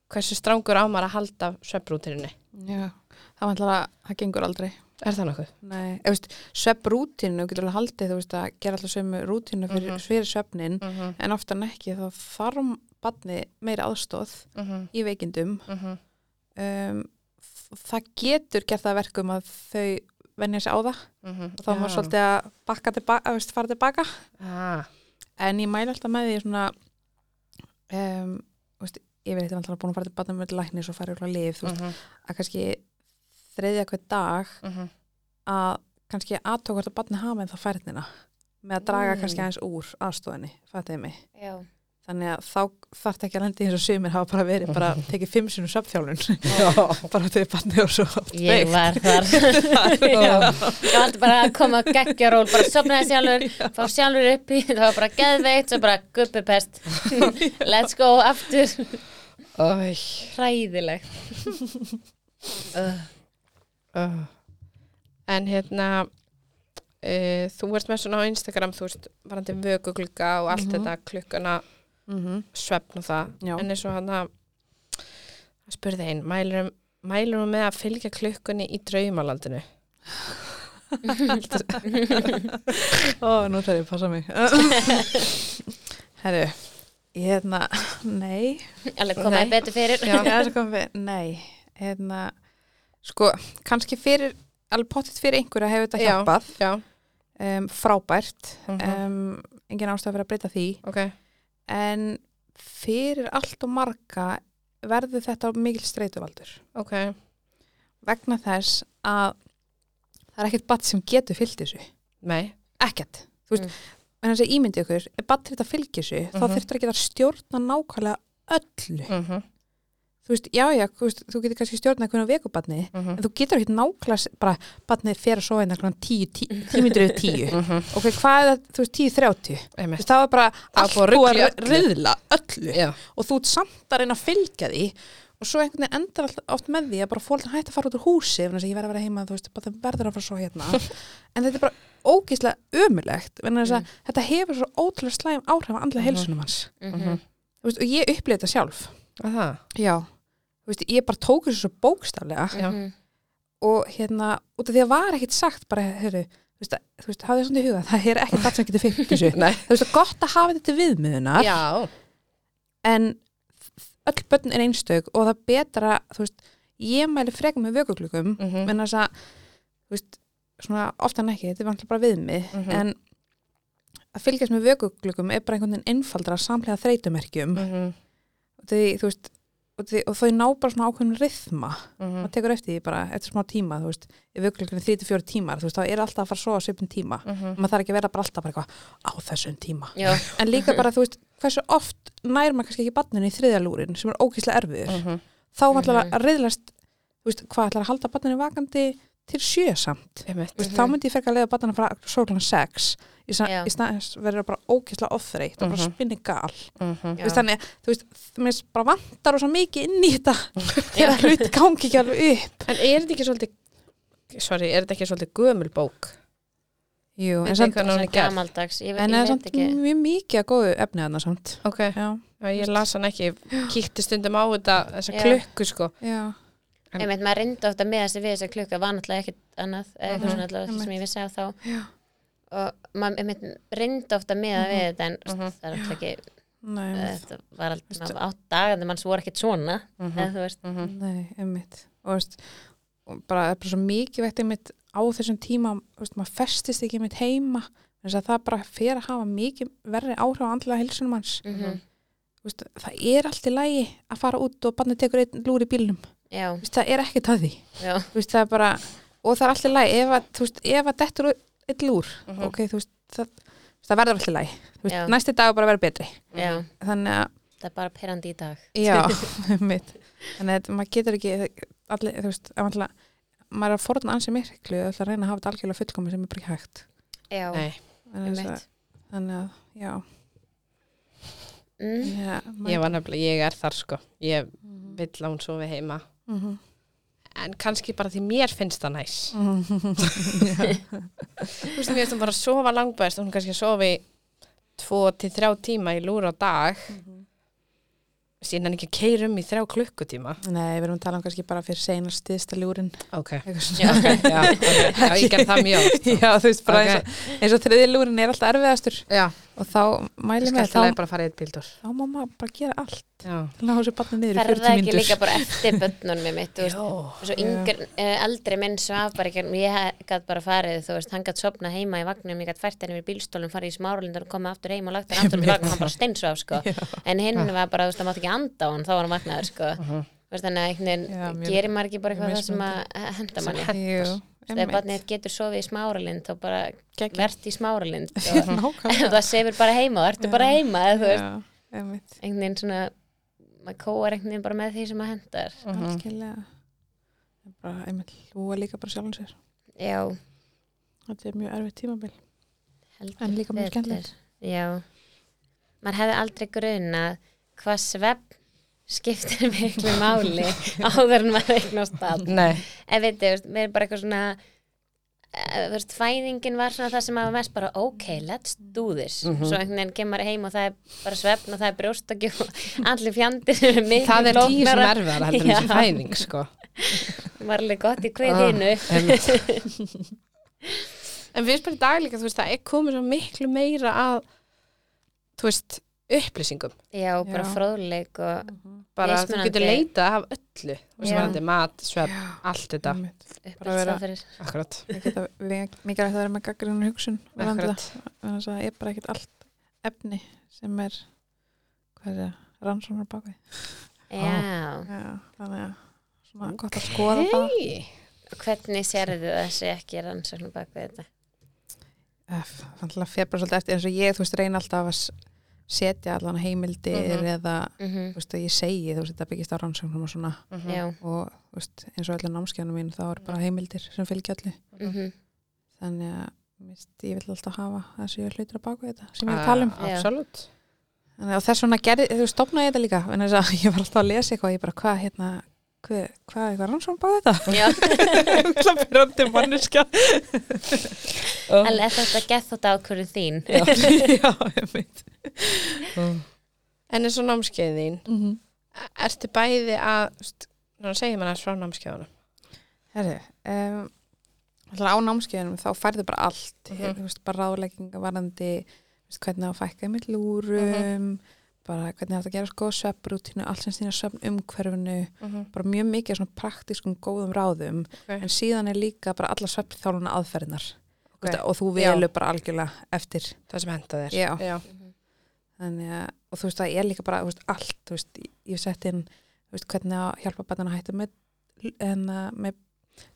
hversu strangur á maður að halda svepprútinu
Já, það var alltaf að það gengur aldrei.
Er það nokkuð?
Nei, eða veist, svepp rútinu, getur alveg haldið, þú veist, að gera alltaf sömu rútinu fyrir,
Mhm.
fyrir svefnin,
Mm -hmm.
en oftan ekki þá þarf badni meira aðstóð
Mm -hmm.
í veikindum.
Mm -hmm.
Um, þ- það getur gert það að verkum að þau venja sig á það og þá má svolítið að bakka tilbaka, veist, fara tilbaka.
ah,
En ég mæli alltaf með því svona, um, veist, ég veit að alltaf búin að fara til badni með læknis og fara úr að lif, þú
mm
veist, að kannski þriðja hver dag
mhm.
að kannski aðtók hvort að barni hafa en það færnina með að draga
Mm.
kannski aðeins úr aðstofinni, fattiði mig
já,
þannig að þá þarf ekki að lendi eins og sumir hafa bara verið,
<laughs>
bara tekið fimm sinum söpfjálun, <laughs> bara til barni og svo oft
ég
veikt.
var þar <laughs> já, ég var aldrei bara að koma að geggja ról bara sopnaði sjálfur, fá sjálfur upp í það var bara geðveikt, svo bara
<laughs>
guppupest let's go aftur hræðilegt
Uh. En hérna uh, þú ert með svona á Instagram þú veist, varandi vökuglugga og allt
Mhm.
þetta klukkuna
mm
Mhm,
-hmm.
svefn og það
Já.
en eins og hann að spurði einn, mælurum mælurum með að fylgja klukkunni í draumalandinu
<laughs> Ó, nú þarf ég að passa
<laughs>
mig Herru ég hérna, nei
alveg komaði
Nei.
betur fyrir <laughs>
Já, það kom við, nei hérna, sko, kannski fyrir alveg pottitt fyrir einhverja hefur þetta
Já.
hjálpað
Já,
um, frábært
Mhm.
um, engin ástæð fyrir að breyta því
ok
en fyrir allt og marga verður þetta mikil streytuvaldur
ok,
vegna þess að það er ekkert batt sem getur fyllt þessu
nei
ekkert, þú veist mm. en þess að ímyndi ykkur, ef batt þetta fylgir þessu þá
Mhm.
þurftur ekki að stjórna nákvæmlega öllu,
mm -hmm.
þú veist, já já þú, veist, þú getur kannski stjórnað hvernig vekubatni mm.
mhm,
en þú getur ekki nákvæmlega s- bara batnið fer að sofa innan kláðan tíu, tíu, tíu myndir yfir tíu, ok, hvað er það Mm. þú veist, tíu þrjátíu,
mhm, Einmitt.
það var bara allt
búið að
búið
rugla
að
öllu.
ruðla öllu
Já,
og þú ert samt að reyna að fylgja því og svo einhvern veginn endar alltaf oft með því að bara fólk hægt að fara út úr húsi ef ég verður að vera heima, þú veist, bara það verður að fara svo hérna <laughs> en þetta er bara ógíslega ömulegt vegna þess að þetta hefur svo ótrúlega slæm áhrif á andla heilsunum hans
Mhm.
Þú veist, og ég upplýði þetta sjálf
að það
já, Þú veist, ég bara tók þessu svo bókstaflega
Já.
Mhm.
og hérna, út af því að var ekkit sagt bara, heyrðu, þú veist, að- þú veist, hafið svona í huga það er ekkert það sem getur fylgt
<laughs>
þessu
Nei.
þú veist, gott að hafa þetta til viðmiðunar
Já,
en öll börn er einstök og það er betra, þú veist, ég mæli frekar með vökuglugum,
Mhm.
menn þess að þú veist, svona ofta en ekki, þetta er vantilega bara viðmið
Mhm.
en að fylgjast með vökuglugum er bara einhvern veginn einfaldra samlega þreytumerkjum mm.
-hmm.
því, þú veist, og, því, og þau ná bara svona ákveðin rithma
Mm.
maður tekur eftir því bara eftir smá tíma þú veist, ef vökuglugum er 34 tímar þú veist, þá er alltaf að fara svo á svipin tíma
Mhm.
maður þarf ekki að vera bara alltaf bara eitthvað á þessum
<laughs>
tíma
Já,
en líka bara, þú veist, hversu oft nær maður kannski ekki banninu í þriðjalúrin sem er ókýslega erfiður þá ætlar
Mm. Mhm.
að reyðlast þú veist, hvað ætlar að halda banninu vakandi til sjö samt Þú veist, þá myndi ég fekk að leiða banninu frá sóklan sex í
Mhm. Já.
snæðis verður bara ókýslega ofþreytt og bara
Mhm.
spinni gal Þú
já.
veist, þannig, þú veist, þú veist, bara vantar og svo mikið inn í <laughs> þetta þegar hluti gangi ekki alveg upp
En er þetta ekki svolítið Sorry, er þetta ekki svolítið gömul bók?
Jú, en
Veit
samt,
eitthvað
Svona
náni gert?
gamaldags, ég, ve-
en það er
ég
samt
veit ekki
mjög mikið að góðu efni þarna samt
Ok,
Já,
já, ég las hann ekki Kíkti stundum á þetta, þessa
Já.
klukku sko
já,
En-
einmitt, maður reyndi ofta með þessi við þessa klukka var náttúrulega ekkert annað eða eitthvað
Mhm.
svona allavega ekki sem ég vissi á þá
Já.
og maður einmitt reyndi ofta með það við þetta en
Mhm.
það er alltaf ekki eh,
nei, einmitt.
þetta var alltaf átt dagandi manns voru ekkert svona eða þú veist
Mhm.
nei, einmitt og þú veist, og bara það er bara svo mikið veitt einmitt á þessum tíma þú veist, maður festist ekki einmitt heima þess að það bara fer að hafa mikið verri áhrif á andlega helsunum hans
Mhm.
Þú veist, það er allt í lagi að fara út og barnið tekur einn lúr í bílnum Þú
já,
veist, það er ekkert að því
já,
Þú veist, það er bara, og það er allt í lagi ef að, þú veist, ef að dettur einn lúr
Mhm.
ok, þú veist, það, þú veist, það verður allt í lagi Þú veist,
Já.
næsti dag er bara að vera betri
já
þannig að
það er bara perandi í dag <laughs>
Já, mitt. Þannig að þetta- maður getur ekki, allir, þú veist, ef alltaf, maður er að forna ansið miklu og ætla að reyna að hafa þetta algjörlega fullkomi sem er bara ekki hægt.
já,
Nei,
Þannig að,
einmitt
þannig að já.
mm.
Ja,
ég var nefnilega, ég er þar sko Ég
Mm
vill að hún sofi heima
-hmm.
En kannski bara því mér finnst það næs Mhm. Þú veist, mér finnst hún bara að sofa langbæst og hún kannski sofi tvo til þrjá tíma í lúra á dag síðan ekki að keira um í þrjá klukkutíma
Nei, við erum að tala um kannski bara fyrir senast stiðsta ljúrin.
Ok,
eitthvað svona.
já, okay. já, okay. já ég ger það mjög oft.
<laughs> Já, þú veist, bara
Ok.
eins, og, eins og þriði ljúrin er alltaf erfiðastur
Já,
og þá
ég
mælum
skal
við
alltaf
þá,
bara að fara í eitt bíldur
þá má maður bara gera allt.
Já,
Ná þessu barnið niður í
það er
40
það ekki
mínútur.
líka bara eftir bönnunum mitt,
<laughs>
þú veist
já
svo yngri, yeah. eldri minn svaf bara ekki, ég gæt bara farið þú veist, hann gæt sopna heima í vagnum, ég gæt fært henni við bílstólum, farið í smáralindar og koma aftur heim og lagt hann aftur um vagnum, hann bara steinsvaf sko. en
Ah.
hinn var bara, þú veist, hann mátt ekki anda á hann þá var hann vaknaður, sko Þú veist, þannig að
Já,
einhvern
mjög-
veginn gerir maður ekki bara eitthvað það sem að henda manni
Jú,
þegar
<laughs>
barnið getur sofið í smáralind þá bara
Geggjað.
verðt í
<laughs>
smáralind og
Nákvæmlega.
ef <laughs> það sefur bara heima, þá ertu
Já.
bara heima eða þú veist,
Já, einmitt.
einhvern veginn svona maður kóar einhvern veginn bara með því sem að hendar
Mhm.
algjörlega En bara einmitt hlúa líka bara sjálfum sér
já,
þetta er mjög erfið tímabil
heldur
en líka mjög
betur.
skemmtilegt
Já, maður hefði aldrei grunað hvað svepp skiptir <laughs> miklu máli áður en maður eignast all.
Nei,
En veit, þú veist, mér er bara eitthvað svona, eh, þú veist, fæðingin var svona það sem maður mest bara, ok, let's do this. Svo einhvern veginn kemur maður heim og það er bara sveppn og það er brjóstakjú og <laughs> allir fjandir sem er miklu
það er tíu sem
flóknara.
erfiðar heldur
Já.
en sem fæðing sko
Maður er alveg gott í
Ah,
kveðinu.
einmitt. En við erum bara í dag líka, þú veist, það er komið svo miklu meira að þú veist, upplýsingum
Já, bara
Já.
fróðleik og,
bara þú
Mismunandi.
getur leitað af öllu Mhm. þú veist,
Já.
varandi mat, svefn, allt þetta
Einmitt.
uppelst
Bara vera-
það fyrir.
Akkurat,
Ég geta ve- mikilvægt að vera með gaggrinu hugsun varðandi það.
akkurat
Vegna þess að það er bara ekkert allt efni sem er hvað er það, rannsóknar bakvið
Já,
Já, þannig að svona gott að skoða það
Hey.
hvernig sérðu þessi ekki rannsóknum bak við þetta?
F, þannig að fyrir bara svolítið eftir eins og ég þú veist reyna alltaf að s- setja allan heimildir eða
Mm
þú veist að ég segi þú veist þetta byggist á rannsóknum og svona
Mhm.
Já,
og þú veist, eins og öllu námskjánum mín þá er bara heimildir sem fylgja öllu
mhm.
þannig að mist, ég vil alltaf hafa það sem ég hlutur að baka þetta sem
Ah.
ég vil tala um
Já.
<laughs> Absolutt
þannig, að- og þess vegna gerði, þú stopnaði ég þetta líka en þess að <laughs> ég var alltaf að lesa eitthvað og ég bara hvað hérna hvað, hvað, hvað rannsókn baka þetta
Já,
Það fyrir andir
<laughs>
manneskja
en er þetta gett þótt ákvörðu þín?
<laughs>
Já, <laughs> já, ég veit
En eins og námskeiðin,
mm -hmm.
ertu bæði að þú veist, Nú segir maður frá námskeiðunum
Herri, um, alltaf á námskeiðunum þá færðu bara allt,
Mhm. Mhm.
mm þú veist, bara ráðlegginga varandi, þú veist, hvernig á fækka með lúrum, bara hvernig þetta gerast góð svefnrútínu, sko, allt sem stýna svefn umhverfinu,
mm -hmm.
bara mjög mikið af svona praktískum góðum ráðum, en síðan er líka bara alla svefnþjálfuna aðferðinar
Ok.
okay. og þú velur bara algjörlega eftir.
það sem henda þér
Já.
Já.
Þannig að, og þú veist að ég er líka bara, þú veist, allt, þú veist, ég- ég hef sett inn, þú veist, hvernig að hjálpa barnan að hætta með, en, með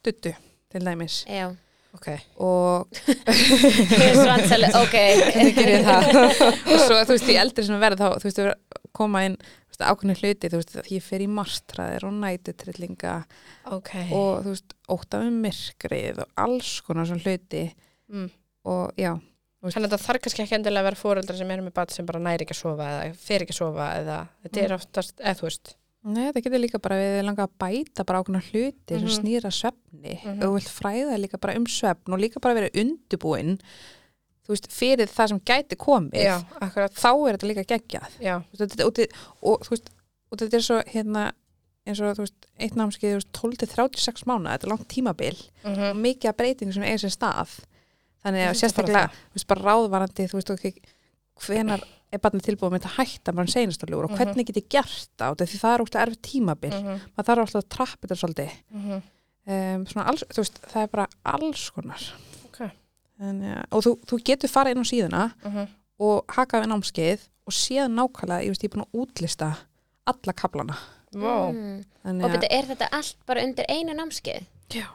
duttu til dæmis
Já,
ok,
og <laughs>
Here's Ransel, <laughs> ok
hvernig gerir ég það og svo þú veist, því eldri sem ég verð þá, þú veist, þú koma inn þú veist, ákveðnu hluti, þú veist, að ég fer í martraðir og nætutrillinga
<laughs> ok
og þú veist, ótaf um myrkrið og alls konar svona hluti
mm.
og já,
þannig að það þarf kannski ekki endilega að vera fóreldra sem eru með bat sem bara næri ekki að sofa eða fer ekki að sofa eða þetta er oftast, eða þú veist
Nei, það getur líka bara við langa að bæta bara ákveðna hluti sem
Mhm.
snýra svefni mm
Mhm.
og þú vilt fræða líka bara um svefn og líka bara vera undubúinn þú veist, fyrir það sem gæti komið
já, akkurat,
þá er þetta líka geggjað
já,
Þú veist, þetta, og, þi- og þú veist, og þetta er svo hérna, eins og þú veist, eitt námskeið þú veist, 12 til 36 mánuða, þetta er langt tímabil
mm
og mikið af breytingum sem eiga sér stað þannig
Ég
að
finnst það bara
sérstaklega, þú veist, bara ráðvarandi þú veist, ok, hvenar er barnið tilbúið með þetta hætta bara seinastofljúr og
Mhm. Mm.
hvernig get ég gert það Út af því það er óslega erfitt tímabil
Mm-hmm.
maður þarf alltaf að trappa þetta svolítið um, svona alls, þú veist, það er bara alls konar
Ok.
en, ja, og þú, þú getur farið inn á síðuna
Mm-hmm.
og hakað við námskeið og séð nákvæmlega, ég veist, ég er búin að útlista alla kaplana
Vá.
Mm.
þannig
Og
að,
betur, er þetta allt bara undir einu námskeið?
Já.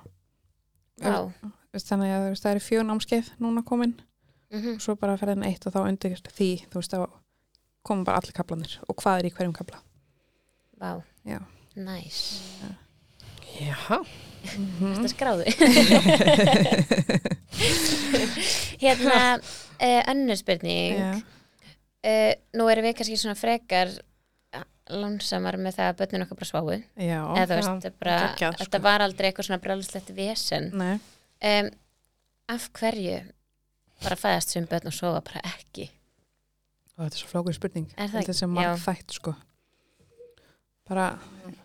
Vá.
þú veist, þannig að þú veist, það eru fjögur námskeið núna komin
Mhm.
og svo bara ferðin eitt og þá undir því, þú veist, þá komum bara allir kaplanir og hvað er í hverjum kapla
Vá.
Já.
Næs.
já,
Þetta skráðu. hérna, uh, önnur spurning.
Já.
Uh, nú erum við kannski svona frekar eh, lánsamar með það að börnin okkar bara sváu. Eða
Já,
þú veist,
já,
bara,
geggjað, sko.
þetta var aldrei eitthvað svona brjálslegt vesen.
nei
Um, af hverju bara fæðast sem börn og sofa bara ekki?
og þetta er svo flókur spurning
Er það
þetta er
ekki?
svo margt þætt sko bara,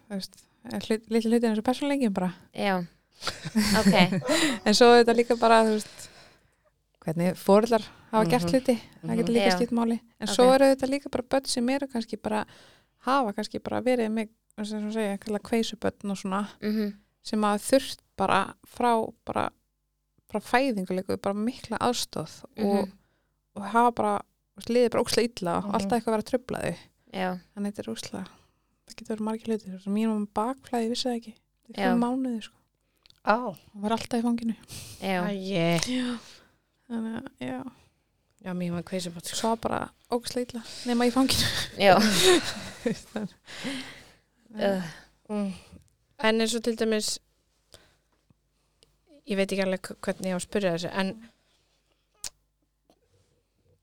þú veist hlut, litli hlutin eins og persónleikin bara
Já, ok.
en svo er þetta líka bara, þú veist hvernig fórðlar hafa gert
Mhm.
hluti það getur líka
Já.
skipt máli en
Ok.
svo eru þetta líka bara börn sem eru kannski bara hafa kannski bara verið með eins og segja, kalla kveisubörn og svona
Mm
sem að þurft bara frá bara, frá fæðinguleiku bara mikla aðstóð og,
Mhm.
og hafa bara liðið bara óksla illa og
Mhm.
alltaf eitthvað að vera tröflaði
Já,
þannig þetta er ósla það getur verið margir hlutir Svo mín um bakflæði vissi það ekki þetta er
Já.
fyrir mánuði sko
Mm-hmm. á,
hún var alltaf í fanginu
já.
æjé
þannig að já
já, mér var kveisum bát
Sko.
svo bara ógæslega illa nema í fanginu
Já,
uh,
Mm. En eins og til dæmis ég veit ekki alveg hvernig ég á að spyrja þessu en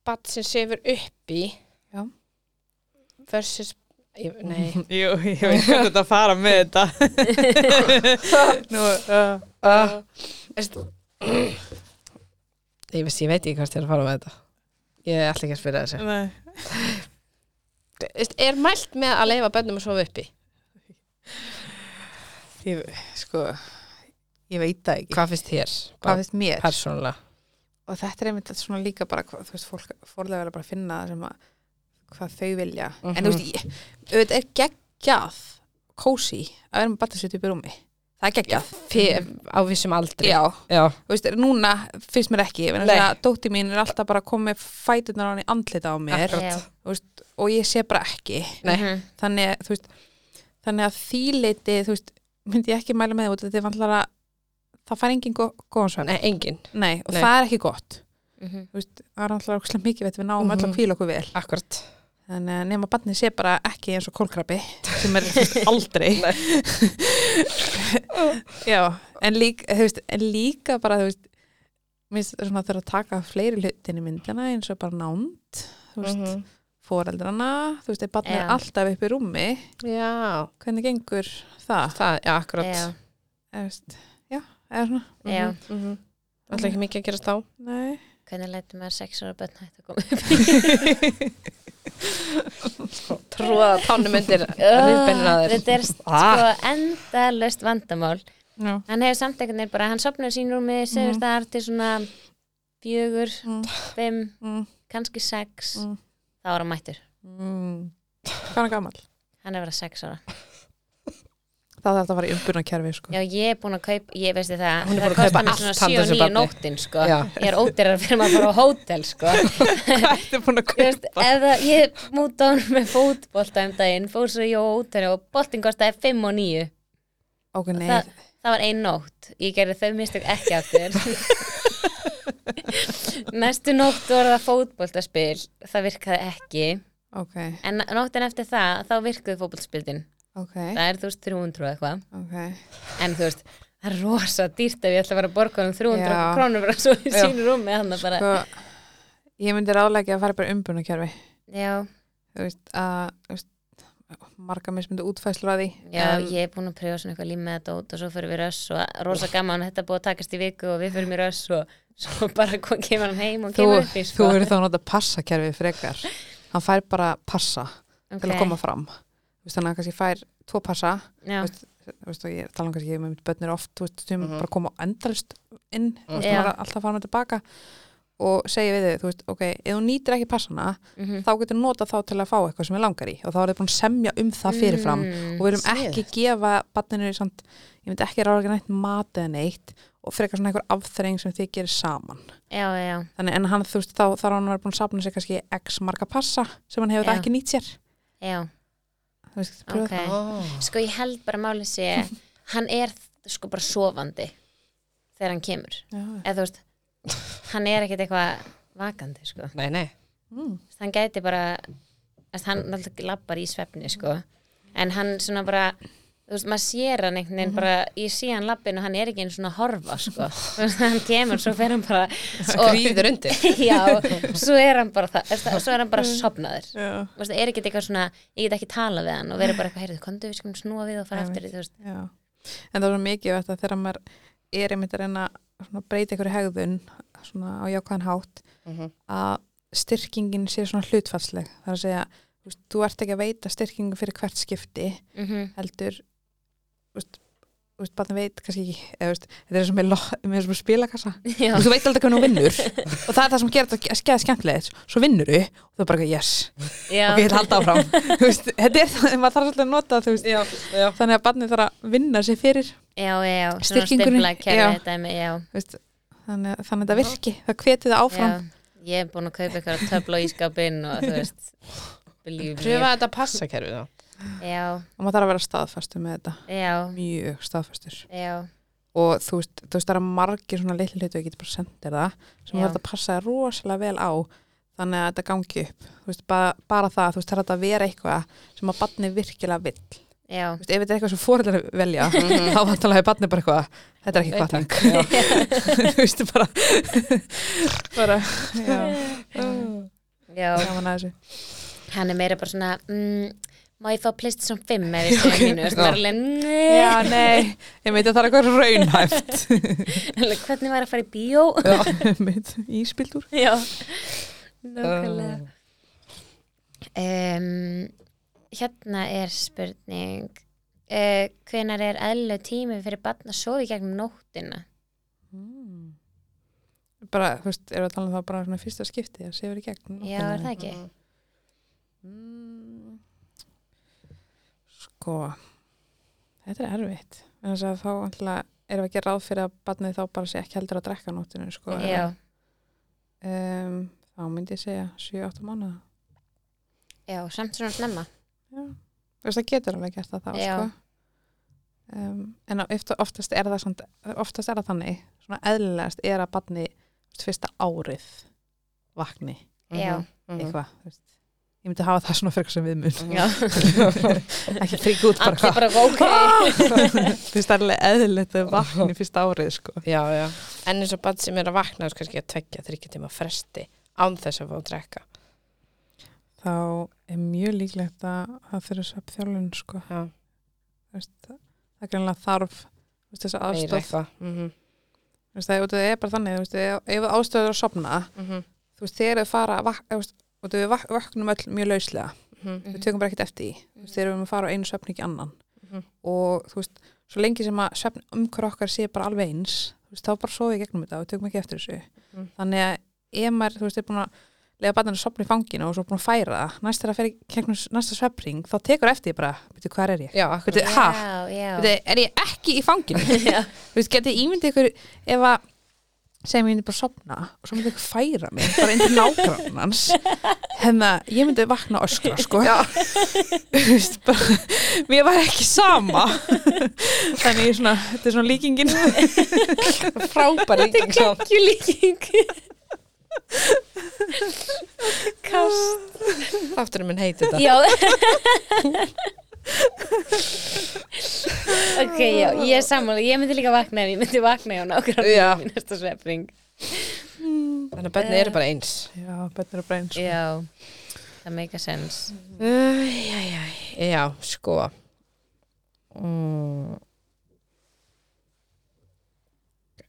bat sem sefur uppi
Já.
versus ég, nei, <laughs>
Jú, ég veit hvað þetta fara með þetta
<laughs>
Nú, uh,
uh, veist, ég veist ég veit ekki hvert ég er að fara með þetta ég ætla ekki að spyrja þessu
nei
veist, er mælt með að leifa bönnum að sofa uppi
ég, sko ég veit það ekki
hvað finnst þér,
hvað finnst mér
persónulega
og þetta er einmitt svona líka bara hvað, þú veist fólk fórlega vel að bara finna það sem að hvað þau vilja en
Mhm.
þú veist ég, auðvitað er geggjað kósi að vera með batasjötu upp í rúmi það er geggjað
Fyr, á vissum aldri
já
Já.
þú veist, núna finnst mér ekki vegna
Nei.
þess að dótti mín er alltaf bara að koma með fæturnar á hann í andlita á mér
já.
þú veist, og ég sé bara ekki
Nei.
Mhm.
þannig, þú veist, þannig að því leiti þú veist, myndi ég ekki mæla með því út af því þetta er vantlega það fær engin gó góðan svefn nei.
nei, engin,
og
Nei.
það er ekki gott
Mhm.
Þú veist, það er alltaf ókslega mikið veit við náum mm
Mhm.
öll að hvíla okkur vel
akkurat
þannig að nema barnið sé bara ekki eins og kólkrabbi sem er þú
<laughs>
veist, aldrei <laughs> já, en líka, þú veist, en líka bara þú veist minnst svona þurfa að taka fleiri hlutin í myndina eins og bara nánd þú veist,
Mhm.
foreldrana þú veist, ef barnið er
Já.
alltaf upp í rúmi
já,
hvernig gengur það
það, já, akkurat
Já,
Mhm.
Eða, þú veist, já, eða svona
já.
Það er ekki mikið að gerast á.
nei,
Hvernig lætur maður sex ára börn hægt að koma upp?
Tróða <laughs> tánum undir riðbennina þér.
Þetta er
Ah.
sko endalaust vandamál.
já,
Hann hefur samt einhvern veginn bara, hann sopnar sín rúmi, segur
Mhm.
þar til svona fjögur,
Mm.
fimm,
mm,
kannski sex.
Mm.
Þá er hann mættur. <laughs>
mm. Hvað er hann gammal?
Hann er að vera sex ára.
Það þarf þetta að fara í umbunarkerfi sko.
Já, ég er búin að kaupa, ég veist þið það, það
Hún er búin að kaupa
kostar mig
allt
svona
handa
7 og 9
þessu barni.
nóttin, sko.
Já.
Ég er ódýrar fyrir maður að fara á hótel,
<laughs>
sko.
Hvað ertu búin að
Þú veist, eða ég múta hann með fótbolta um daginn, fór svo ég á hótel og boltin kostaði 5 og 9.
Ok, nei.
Það, það var ein nótt. Ég gerði þau mistök ekki
<laughs>
aftur. Næstu nótt var það fótboltaspil, það virkaði ekki.
Ok,
En nóttin eftir það, þá virkuðu fótboltaspildin.
ok,
Það er, þú veist, 300 og eitthvað.
ok.
en þú veist, það er rosa dýrt ef ég ætla að fara að borga um 300
Já.
krónur bara svo í
Já.
sínu rúmi hann er bara,
Sko, ég myndi ráðlega að fara bara í umbunarkerfi.
já,
Þú veist að, þú veist, marga mismyndu útfæslur að því.
já,
En-
ég er búin að pröfa svona eitthvað líf með þetta út og svo fyrir við röss og rosa gaman, þetta er búið að takast í viku og við fyrir mér röss og svo bara <laughs> kom- kemur hann heim og
þú,
kemur upp í
þú
sko.
eru þá að nota passakerfið frekar hann fær bara passa til að
Ok.
koma fram Þú veist, þannig að hann kannski fær tvo passa
Já,
veist, Þú veist, og ég tala um kannski ég með mitt börnir oft þú veist, sem bara koma endalist inn mm -hmm. veist,
Mhm. Já.
maður er alltaf að fara með tilbaka og segja við þau, þú veist, ok, ef þú nýtir ekki passana,
mhm.
þá getur nota þá til að fá eitthvað sem er langar í og þá er þau búin að semja um það fyrirfram
Mm.
og við erum ekki að gefa barninu samt, ég myndi ekki ráða ekki neitt mat eða neitt og frekar svona einhver afþreng sem þið gerir saman
Já, já, já,
Þannig, en hann, þú veist, þá þarf hann að vera búin að safna sér kannski x marga passa sem hann hefur
Já.
það ekki nýtt sér.
já,
Þú veist, pröfa
ok
það.
Sko ég held bara málið sé
<laughs>
hann er sko bara sofandi þegar hann kemur
Já.
eða þú veist, hann er ekkit eitthvað vakandi sko
Nei, nei.
Mm.
veist, hann gæti bara veist, hann náttúrulega lappar í svefni sko. en hann svona bara þú veist, maður sér hann einhvern
Mhm.
veginn bara ég sé hann lappin og hann er ekki einu svona að horfa sko. Þú veist, hann kemur, svo fer hann bara og,
Skrýður undir.
<laughs> já, svo er hann bara það, veist, svo er hann bara sopnaður
Já.
Þú veist, það er ekki eitthvað svona, ég get ekki talað við hann og verið bara eitthvað, heyrðu, komdu við skulum snúa við og fara
Einmitt.
aftur í, þú veist,
Já. En það er svo mikið vett að þegar maður er einmitt að reyna svona, að breyta einhverju hegðun svona á jákvæðan hátt
Mhm.
að styrkingin sé svona hlutfallsleg. Það er að segja, þú, veist, þú ert ekki að veita styrkingu fyrir hvert skipti
mm
Mhm.
-hmm.
heldur, þú veist, þú veist, barnið veit kannski ekki, eða, þú veist, þetta er eins og með, lo- með, eins og með spilakassa.
já,
og þú veit aldrei hvernig hún vinnur og það er það sem gerir þetta skeið skemmtilegt svo vinnur þú og þú er bara eitthvað, yes,
já,
ok, ég ætla að halda áfram <laughs> Þú veist, þetta er það, maður þarf svolítið að nota þú veist,
Já, já.
þannig að barnið þarf að vinna sér fyrir
já, já, svona
Styrkingurinn,
stimpla
já.
kerfi þetta er já,
þú veist, þannig, að- þannig að þetta virki það hveti það áfram
já, ég er búin að kaupa eitthvað töfla í skapinn og þú veist, believe me.
Pröfa þetta passakerfið þá.
Já,
og maður þarf að vera staðfastur með þetta
já,
mjög staðfastur
já,
og þú veist, þú veist það eru margir svona litli hlutu ég geti bara sendir það sem
Já.
þarf að passa þér rosalega vel á þannig að þetta gangi upp Þú veist, bara, bara það, þú veist, það er hægt að vera eitthvað sem að barnið virkilega vill
já,
Þú veist, ef þetta er eitthvað sem fóreldrar velja <laughs> þá vantalega er barnið bara eitthvað þetta er ekki
Nei,
kvartning <laughs> þú veist bara bara já,
já,
gaman að þessu
hann er meira bara svona, mm, má ég fá plist sem fimm ef ég stöðu mínu, veist,
Já.
maður er alveg, "Nei."
já, nei, ég meit að það er eitthvað raunhæft
alveg, hvernig var að fara í bíó?
Meit, íspildur
já, nákvæmlega. Um, hérna er spurning, uh, hvenar er eðlileg tími fyrir barn að sofa í gegnum nóttina?
Mm. bara, þú veist, erum við að tala um það bara svona fyrsta skipti að séu verið í gegn
Já, er það ekki?
Mm. Sko, þetta er erfitt. Þannig að þá alltaf erum við ekki ráð fyrir að barnið þá bara sé ekki heldur að drekka á nóttinu, sko.
Já,
Um, þá myndi ég segja 7-8 mánuða.
já, samt svona snemma.
Já. Þú veist, það getur alveg gert það þá,
Já.
sko. Um, en eftir, oftast, er það samt, oftast er það þannig, svona eðlilegast er að barnið þú veist, fyrsta árið vakni
Mhm.
Já, Mhm.
eitthvað, þú veist. Ég myndi hafa það svona fyrir sem viðmun.
já, <laughs>
ekki fríka út bara Ah!
allir bara ok.
<laughs> þú veist alveg eðlilegt að vakna í fyrsta árið sko.
Já, já. En eins og bann sem er að vakna þú veist kannski að tvekja þryggja tíma fresti án þess að fá að drekka.
þá er mjög líklegt að það þurfi svepp þjálun sko.
Já,
Þú veist, það er greinlega þarf þú veist, þessa
meira
aðstof
eitthvað. Mhm,
Þú veist, það, er- það er bara þannig, þú veist, ef- ef þú aðstofur að sopna
mhm,
þú veist, þegar þau fara að vak, þú veist, og þau vak, vaknum öll mjög lauslega
mhm.
við tökum bara ekkert eftir í þú veist, þegar við erum að fara á einu svefn ekki annan
Mhm.
og þú veist, svo lengi sem að svefn umhver okkar sé bara alveg eins þú veist, þá bara sofið gegnum þetta og við tökum ekki eftir þessu
Mhm.
þannig að ef maður, þú veist, er búin að lega barninu að sopna í fanginu og svo búin að færa það næst þegar það fer í gegnum næsta svefring þá tekur eftir því bara, veitu hvað er ég
Já, akkurat.
veitu, ha,
Já, já.
veitu, er ég ekki í fanginu veitu, getið ímyndið ykkur ef að segjum ég myndi bara að sopna og svo myndi ykkur færa mig bara inn til nágrannans hérna, ég myndi vakna og öskra sko <laughs> Vist, bara, mér var ekki sama þannig ég svona, þetta er svona líkingin
frábæri líking sko. samt.
Kjulíking Kast
Þátturinn minn heiti þetta
<laughs> Já Ok, já, ég er sammála Ég myndi líka vakna en ég myndi vakna hjá
Já.
nákvæmlega í næsta svefring
Þannig að bönni eru bara eins
já, sko. betur að breyns
Já, það sko. make a sense
Æjæjæj, já, sko mm.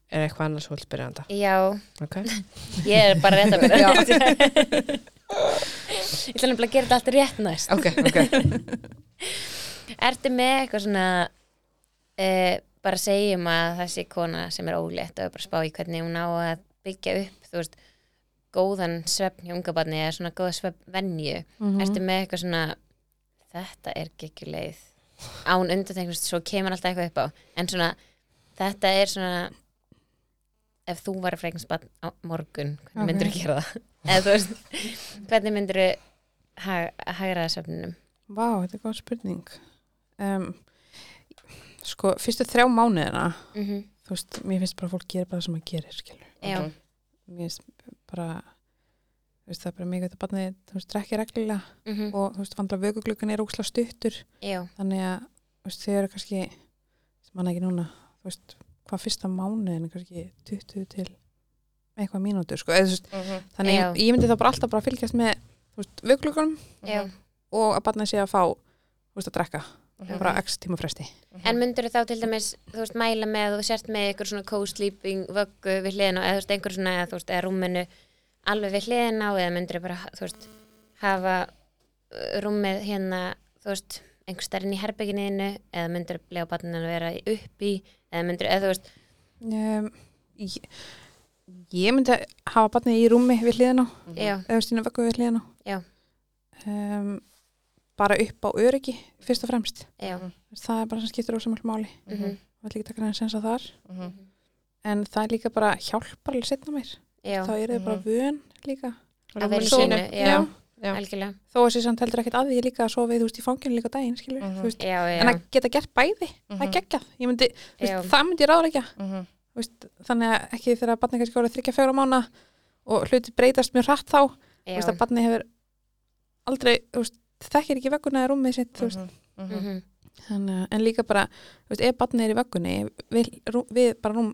Er eitthvað annars húlt byrjanda?
Já,
um Ok,
ég er bara rétt að <laughs> byrja Ég ætla nefnilega að gera þetta allt rétt næst
ok, Mhm, ok
Ertu með eitthvað svona uh, bara segjum að þessi kona sem er ólétt og bara spá í hvernig hún á að byggja upp þú veist, góðan svefn hjá unga barni eða svona góða svefn venju
Mhm.
Ertu með eitthvað svona þetta er geggjuleið án undanteknust, svo kemur alltaf eitthvað upp á en svona, þetta er svona ef þú var freknsbann á morgun, hvernig
Ok.
myndir þú gera það? <laughs> eða þú veist, hvernig myndir þú ha hagraða svefninum?
Vá, þetta er góð spurning. Um, sko, fyrstu þrjá mánuðina,
Mm -hmm.
þú veist, mér finnst bara að fólk gerir bara það sem maður gerir, skilur.
Já,
Ok.
Mér finnst bara, þú veist, það er bara mikið að barnið, þú veist, drekki reglulega
mm
og þú veist, vandla vökuglökun er óksla stuttur,
já,
þannig að, þú veist, þau eru kannski, sem manna ekki núna, þú veist, hvað fyrsta mánuðin er kannski 20 til eitthvað mínútur, sko, eða þú veist, þannig
Já.
ég, ég myndi þá bara alltaf bara fylgjast með, þú veist, vökuglökunum
já.
og að barnið sé að fá, þú veist, að drekka,
Mhm.
bara x tíma fresti.
En myndur þá til dæmis, þú veist, mæla með þú sért með einhver svona co-sleeping vöggu við hliðina, eða þú veist, einhver svona, eða þú veist, eða rúminu alveg við hliðina á, eða myndur bara, þú veist, hafa uh, rúmið hérna, þú veist, einhver stærinn í herbygginiðinu, eða myndur lega barninu að vera í- upp í, eða myndur, eða þú veist,
Um, ég, ég myndi að hafa barnið í rúmi við hliðina á,
mhm,
já,
eða stína vöggu við hliðina á.
Já.
Um, bara upp á öryggi, fyrst og fremst.
já,
Það er bara sem skiptir ósamall máli.
mhm,
Það er líka takkar aðeins eins að þar.
Mhm.
En það er líka bara hjálpar alveg setna mér.
já,
Þá er það bara vön líka.
að vera í
Svo-
sínu, já,
já.
algjörlega,
Þó að sér samt heldur ekkert að því líka að sofa í, þú veist, í fanginu líka á daginn, skilur.
Mhm.
þú veist.
já, já,
En að geta gert bæði, það er
Mhm.
geggjað. Ég myndi, þú
Já.
veist, það myndi ég ráður ekki
Mhm.
veist, þannig að ekki þegar barnið kannski voru þryggja fjóra mánu og hluti breytast mjög hratt þá þú
já,
veist, að barnið hefur aldrei þú veist, þekkir ekki vegguna eða rúmið sitt mm -hmm.
Mhm.
mhm,
þannig, að- en líka bara, þú veist, ef barnið er í veggunni við, rú, við bara rúm,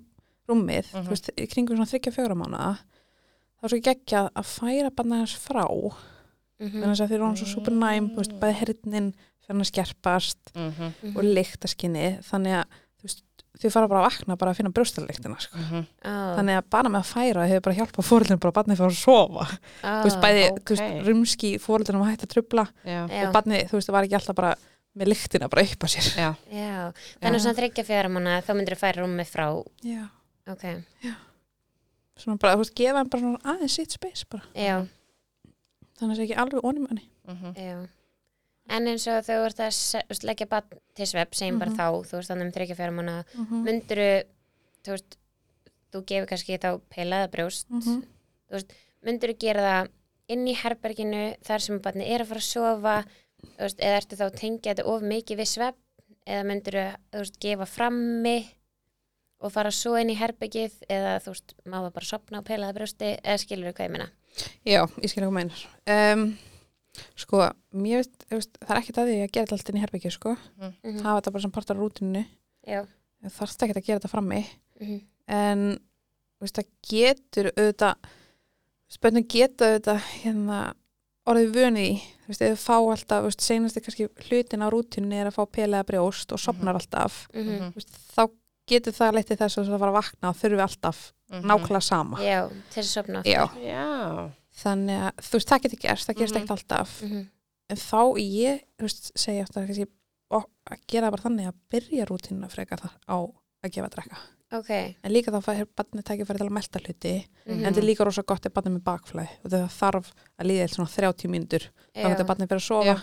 rúmið
Mhm.
þú veist, í kringum svona þryggja fjóra mánu þá er svo geggjað að færa barnið hans frá mm.
mhm,
þannig að þeir eru hann svo
Mm.
supernæm þú veist, bæði herrnin, fyrir hann að skerpast
Mhm.
mhm,
og lyktaskinni þannig að þú veist, þau fara bara að vakna bara að finna brjóstarlyktina sko.
Mhm.
Ó,
þannig að bara með að færa hefur bara hjálpað fóröldinu bara að barnið fór að sofa
ó,
þú veist, bæði,
Ah, ok.
þú veist, rumski fóröldinu var hægt að trubla
Já,
já.
og barnið, þú veist, það var ekki alltaf bara með lyktina bara upp á sér
já
Já, þannig að svona þryggja fjara manna þá myndir þú færa rúmið frá
já.
ok,
svona bara, þú veist, gefa hann bara svona aðeins sitt space bara,
já,
þannig að það sé ekki alveg onum henni
Mhm.
já en eins og þau voru það þú veist, leggja bann til svepp, segjum
Mhm.
bara þá þú veist þannig um þryggja fjara manna
mm -hmm.
myndir þú, þú veist þú gefur kannski þá pelaða brjóst mm
Mhm.
-hmm. myndir þú gera það inn í herberginu þar sem barni er að fara að sofa þú veist, eða ertu þá að tengja þetta of mikið við svepp eða myndir þú veist, gefa frammi og fara svo inn í herbergið eða þú veist, má það bara sopna og pelaða brjósti eða skilur þú hvað ég meina
já, ég skil ekki meinar um, sko, mér veist, þú veist það er ekkert að því að gera þetta allt inn í herbyggju sko.
mm
hafa þetta bara sem partar rútinu
Já,
þarfst ekki að gera þetta frammi
mm
en þú veist, það getur auðvitað spönnum geta auðvitað hérna, orðið vönið í þú veist, eða fá alltaf, þú veist, seinasti kannski hlutin á rútinni er að fá pelaða brjóst og sopnar alltaf,
mhm,
-hmm.
þú veist, þá getur það leitt til þess að það var að vakna og þurfi alltaf
Mhm.
nákvæmlega sama
já til þess að sopna
Já.
Já
þannig að, þú veist, það getur gerst, það gerst
Mhm.
ekkert alltaf
mm -hmm.
en þá ég, þú veist, segja alltaf kannski, ó, að gera það bara þannig að byrja rútinna frekar þar á að gefa að drekka
Ó, ok,
en líka þá fær barnið tækifæri til að melta hluti en
Mhm.
þetta er líka rosa gott ef barnið er með bakflæði og það þarf að líða eitt svona 30 mínútur þá
Já.
getur barnið fyrir að sofa
Já.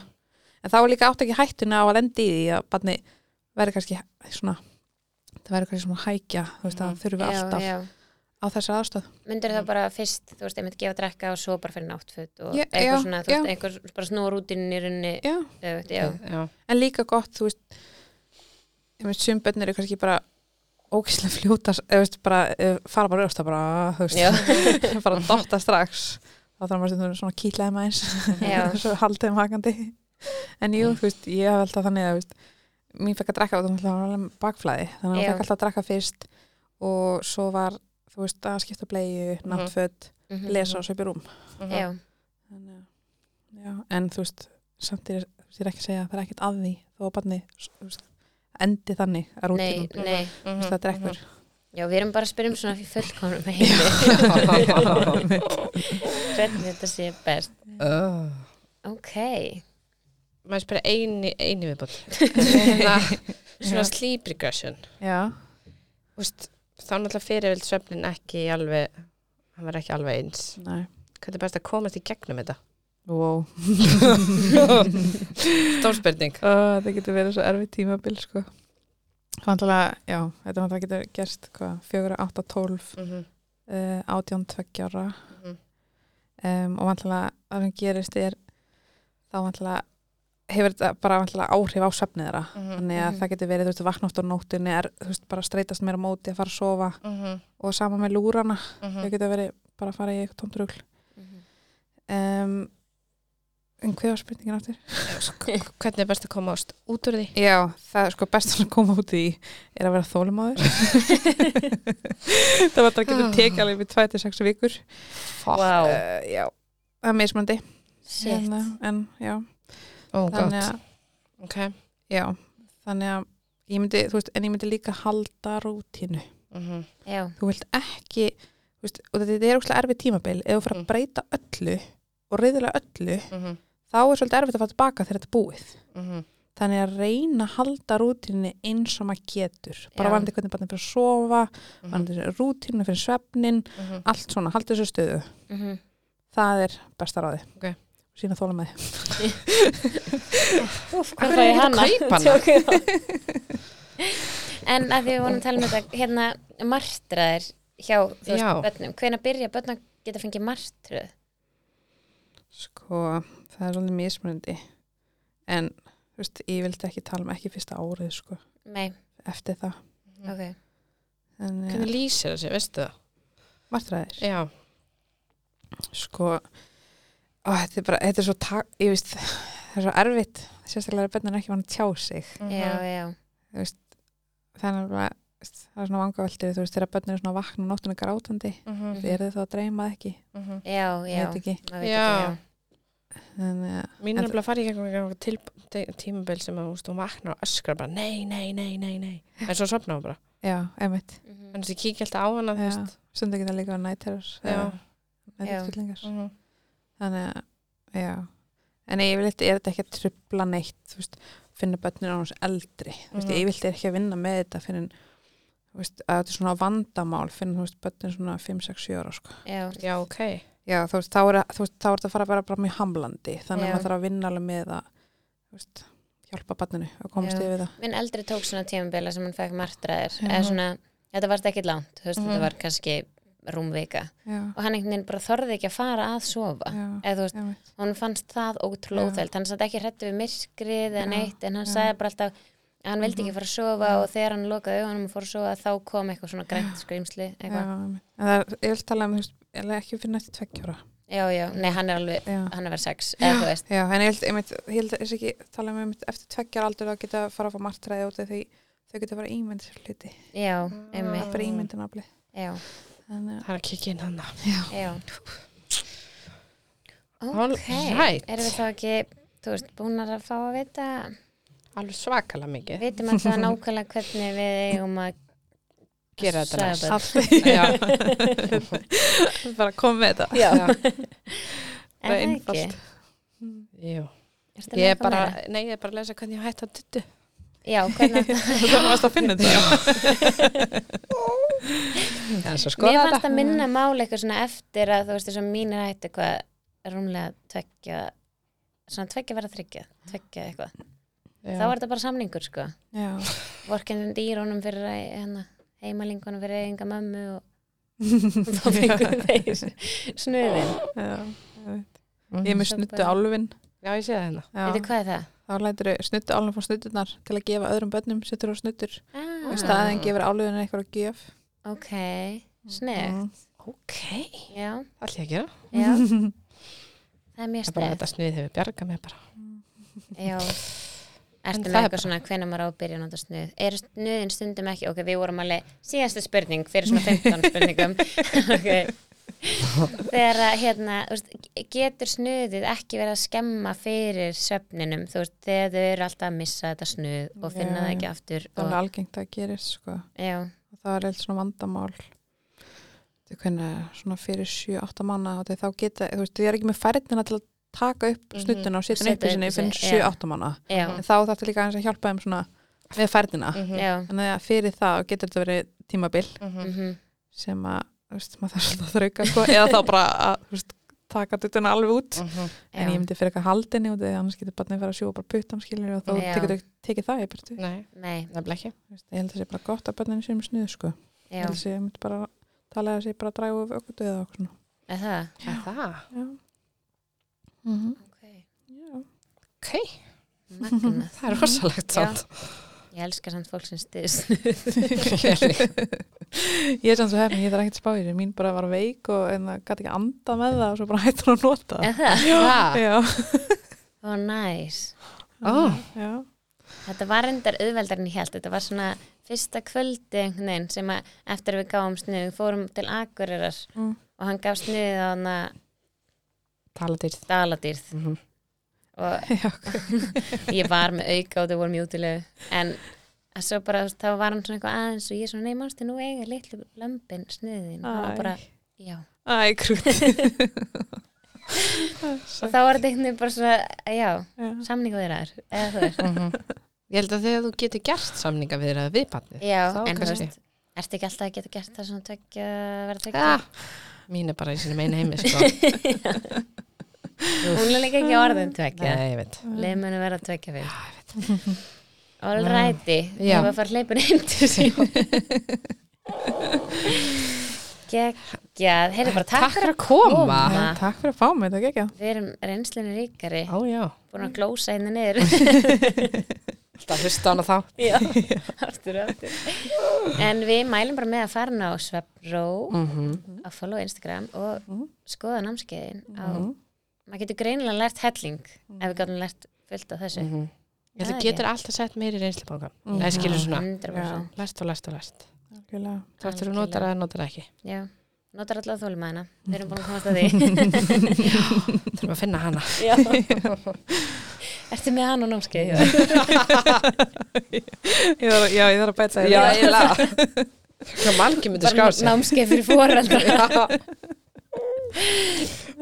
en þá er líka átt ekki hættuna á að lendi í því að barnið verður kannski svona það verður kannski svona hækja þú veist, það þurfum við
já,
alltaf
já
á þessari aðstöð
myndur þá bara fyrst, þú veist, einmitt gefa að drekka og svo bara fyrir náttföt og
Já,
eitthvað
já,
svona, þú
já.
veist, einhver bara snúa rútinin í rauninni,
já.
öfugt, já,
já.
en líka gott, þú veist ég veist, sum börn eru kannski bara ókýrslega fljóta, eða veist, bara eh, fara bara öfst að bara, þú
Já.
veist <laughs> fara að dotta strax þá þarf maður stundum svona að kýtla þeim aðeins
Já.
<laughs> svo haldið þeim hakandi en jú, þú veist, ég hef alltaf þannig að þú veist, mín fekk að drekka og þannig að hann var alveg með bakflæði þannig að
Já.
hann fekk alltaf að drekka fyrst og svo var, þú veist, að skipta bleiðu náttföt,
Mhm.
lesa og söpja rúm
Mhm.
já,
þannig að já, en þú veist, samt er, þú veist, ég er ekki að segja að það er ekkert að því þó að barni þú veist, endi þannig að
nei,
rútinum þú
nei Mhm,
veist, það
<laughs>
drekkur
já, við erum bara að spyrja um svona fullkomnum heimi, <laughs> hvernig þetta sé best
Oh.
ok,
maður spyrir eini, eini viðbót Hérna, svona sleep regression
já,
Úst, þá náttúrulega fyrirvild svefnin ekki alveg hann var ekki alveg eins
nei,
hvernig er best að komast í gegnum þetta
wow
stór spurning
það getur verið svo erfið tímabil sko Vandalega, já, þetta er vandalega getur gerst hvað, 4, 8, 12,
mm -hmm.
uh, 18, 20 ára um, og vantilega það sem gerist er þá vantilega hefur þetta bara vantilega áhrif á svefnið þeirra þannig að
Mhm.
það getur verið, þú veist, vakna oft á nóttunni er, þú veist, bara streytast meira á móti að fara að sofa
-hmm.
og sama með lúrana, þau
-hmm.
getur verið bara að fara í eitthvað tóndrugl um, en hvað var spurningin áttir?
hvernig er best að komast út úr því
Já, það er sko best að koma út í er að vera þólumáður <laughs> það var það getur tekið alveg við 2-6 vikur
wow,
uh, já, það er mismandi
shit
en, eh, en já,
ó, gott,
þannig að
ok
já, þannig að ég myndi, þú veist, en ég myndi líka halda rútínu
mm -hmm.
já,
þú vilt ekki þú veist, og þetta er óslega erfið tímabil ef þú fyrir
Mm.
að breyta öllu og reyðilega öllu
Mm -hmm.
þá er svolítið erfitt að fara tilbaka þegar þetta er búið
Mm -hmm.
þannig að reyna að halda rútinni eins og maður getur
Já.
bara vandi hvernig barnið fyrir að sofa
Mhm.
vandi rútinu fyrir svefnin
<laughs>
allt svona, halda þessu stöðu
mhm,
það er besta ráði
Ok.
sína þóla með
hvað
hverju
fæ
er
ég
ekkert að
hana?
kaupa hana?
Tjók ég á. <laughs> en að því við vorum að tala um þetta hérna martraðir hjá þú
Já.
veist börnum, hvenær byrja börn að geta fengið martröð
sko, það er svolítið mismunandi en, þú veist, ég vildi ekki tala um ekki fyrsta árið, sko,
nei,
eftir það
ok,
en, eh,
hvernig
ja,
lýsir þessi, veistu það
martræðir
já,
sko ó, þetta, er bara, þetta er svo ta- ég veist, það er svo erfitt sérstaklega er bönnin ekki vann að tjá sig
Mhm.
já, já
þannig að bara, þú veist, það er svona vangaveltir þú veist þegar bönnin er svona vakna nóttuna grátandi
Mm -hmm.
er þið þá að dreyma það ekki
já,
ég
já,
veit ekki
maður veit
Já.
ekki,
þannig að
Mín
En
er bara að fara í gegnum eitthvað til, til, tímabil sem að úst, hún vaknar og öskrar bara nei, nei, nei, nei, nei en svo sopnar hún bara
já, einmitt
já. Mhm.
en þessi kíkja alltaf á hana þú
Já.
veist
stundu geta líka að nætterur
Já.
nætterfyllingar
Mhm.
þannig að já en ég vil er þetta ekki að trubla neitt þú veist, finna bönnin á hans eldri þú veist,
Mhm.
ég vil er ekki að vinna með þetta fyrir veist, að þetta er svona vandamál fyrir þú veist, bönnin svona 5-6-7 ára sko.
já,
Já, ok
já, þú veist, þá er, þú veist, þá er þetta að fara bara, bara mjög hamlandi, þannig
Já.
að maður þarf að vinna alveg með að þú veist, hjálpa bönninu að komast
Já.
yfir það
minn eldri tók svona tímabila sem hann fekk martraðir
Já.
eða svona, þetta varst ekki langt þú veist,
Mhm.
þetta var kannski rúmvika
já,
og hann einhvern veginn bara þorði ekki að fara að sofa
já,
eða þú veist,
einmitt.
hún fannst það
Já.
ótrúlega óþælt hann satt ekki hrættu við myrkrið eða
Já,
neitt en hann
já. Mhm.
sagði bara alltaf að hann vildi ekki fara að sofa og þegar hann lokaði augunum og fór að sofa þá kom eitthvað svona grænt skrýmsli
já,
eitthvað.
einmitt. En það er, ég vil tala um þú veist, eiginlega ekki fyrir nætti tveggjóra
Já, já, nei, hann er alveg
já
hann er verið sex, eða þú veist
Já, en ég held, einmitt, ég held að þess ekki tala um einmitt eftir tveggjar aldur að geta fara að fá martræði út af því þau geta bara ímynd sér hluti,
Já,
það
emmi,
er bara ímyndin afli
já, <laughs>
þannig
Það er að kíkja inn hann
já
All
Ok,
right.
erum við þá ekki þú veist, búnar að fá að vita
Alveg svakalega mikið
við vitum alltaf nákvæmlega hvernig við eigum að
Gera
Sagði
þetta næst
bara.
að
<laughs>
<laughs> Já,
allt <laughs> bara kom með þetta
Já,
bara
en það ekki
einfalt.
jú
Ertu
Ég er
með eitthvað
bara,
meira?
nei, ég er bara að lesa hvernig ég hætti að tuttu
<laughs> já, hvernig þetta
Þannig varst að finna
<laughs>
þetta
En svo
Mér
skoða
fannst
þetta
að minna máli eitthvað svona eftir að þú veist þess að mín er hætti hvað rúmlega tvekja svona tvekja verða þryggja, tvekja eitthvað þá var þetta bara samningur sko
Já.
vorkinn dýrónum fyrir að- hérna, heimalingunum fyrir eiginga mömmu og og þá
<laughs>
fengur þeir snuðin
Já.
Mhm.
Ég er með snuttu álfin.
Já, ég sé það hérna
Veitu hvað er það?
Þá lætur snuttu álfin frá snuttunar til að gefa öðrum börnum setur á snuttur. Og í
Ah,
staðin gefur álfin eitthvað að gef.
ok, snið
Mm,
Ok,
já,
það ætla ég að gera
já
<laughs>
það er mjög
Það er bara
snið
þetta snuðið hefur bjargað mér bara
Já, ertu
það
með
er
eitthvað svona hvenær maður á að byrja að nota snuð? Er snuðin stundum ekki, ok, við vorum alveg síðasta spurning fyrir svona 15
<laughs>
spurningum ok þegar að, hérna, þú veist, getur snuðið ekki verið að skemma fyrir svefninum, þú veist, þegar þau eru alltaf að missa þetta snuð og finna
Já,
það
já.
ekki aftur
Það er
og,
alveg algengt að það gerist sko.
já,
Og það er eitthvað svona vandamál. Þetta er hvernig svona fyrir 7-8 manna og þá geta, þú veist, ég er ekki með færðina til að taka upp
Mhm.
snuttuna og setja
Setja
henni upp í sinni
upp í sig,
fyrir
já.
7-8 manna.
já,
En þá þarf líka aðeins að hjálpa þeim svona með
Mm.
færðina.
já
Þannig að fyrir það getur þetta verið tímabil
mm
Mhm.
sem að, þú veist, maður þarf svolítið að þrauka sko, eða þá bara að, þú veist, taka duttuna alveg út.
Mhm.
En ég
já,
myndi fyrir eitthvað haldinni og því annars getur barnið verið að sjóa bara puttam skilur og þá
Já.
tekur þau- tekið það í burtu.
Nei,
nei,
nefnilega ekki
Þú veist, Ég held að það sé bara gott að barninu séum snuð sko.
já,
Ég held að sé, ég myndi bara tala að sé bara að draga of okkur döða okkur svona.
er það
Er Það,
Já. Mm
Mhm.
-hmm.
ok,
Já.
ok,
magna
<laughs>
það er rosalegt <laughs>
Já.
samt
ég elska samt fólk sem stuðið
<laughs>
snuð
Ég er sann svo hefn, ég þarf ekkert að spá í þessu. Mín bara var veik og en það gæti ekki anda með það og svo bara <laughs> hættur að nota það.
er það?
Já,
Já.
Ó, næs
ó,
<laughs> Já.
Þetta var endar auðveldar en ég held, þetta var svona fyrsta kvöldi einhvern veginn sem að eftir við gáum snuð, við fórum til Akureyrar
Mm.
og hann gaf snuðið á hana
tala dýrt
Daladýrð
Mhm.
og
Já.
ég var með auka og þau vorum í útilegu en að svo bara þú veist, þá var hann svona eitthvað aðeins og ég svona nei manstu nú eiga litlu lömbin snuðin og hann var
Æ.
bara já
Æ,
<laughs>
krútt. <laughs>
og þá var þetta einhvern veginn bara svona já,
Já.
samningu þeirra eða þú
<laughs>
veist
Mhm. Ég held að þegar þú getur gert samninga við það við pannið
já,
Þá
en þú
kannski.
veist ertu ekki alltaf að geta gert það svona tökja verða tökja
ah, Mín er bara í sinni meina <laughs> heimi sko.
hún er líka ekki orðin tökja
Nei, ég veit
Leif muni vera að tvekja fyrir. All righty, ég
Já.
var að fara hleypun heim
<laughs>
til sín. Geggjað, heyrðu bara takk fyrir.
að koma
koma.
Já, Takk fyrir að fá mig, þetta er ekki
Við erum reynslinu ríkari,
Á já,
búin að glósa hérna niður.
<laughs>
<laughs>
alltaf hlusta hana þá
Já, aftur og aftur. En við mælum bara með að fara ná Svepró,
mm -hmm.
á follow Instagram og
Mhm.
skoða námskeiðin á,
Mhm.
maður getur greinilega lært helling ef við gáttum lært fullt af þessu.
Mhm. Ég held
Það
að
er
getur alltaf sett meiri reynslubangan
Mhm.
Það skilur svona,
100%.
læst og læst og læst
Algjörlega.
Það eftir þú notar að notar það ekki
Já, notar allavega þólumæðina. Við erum búin að komast að
<laughs>
því.
Þurfum að finna hana
Já. <laughs> Ertu með hann á námskeið?
Ég þarf, já, ég þarf að bæta það.
ég laga Hvað margir myndi skrá
Bara
sig
námskeið fyrir
<laughs>
fóraldra.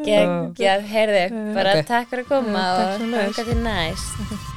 Geggjað, heyrðu, bara
Ok.
takk fyrir að koma
Takk
og
sömuleiðis.
þakka til næst.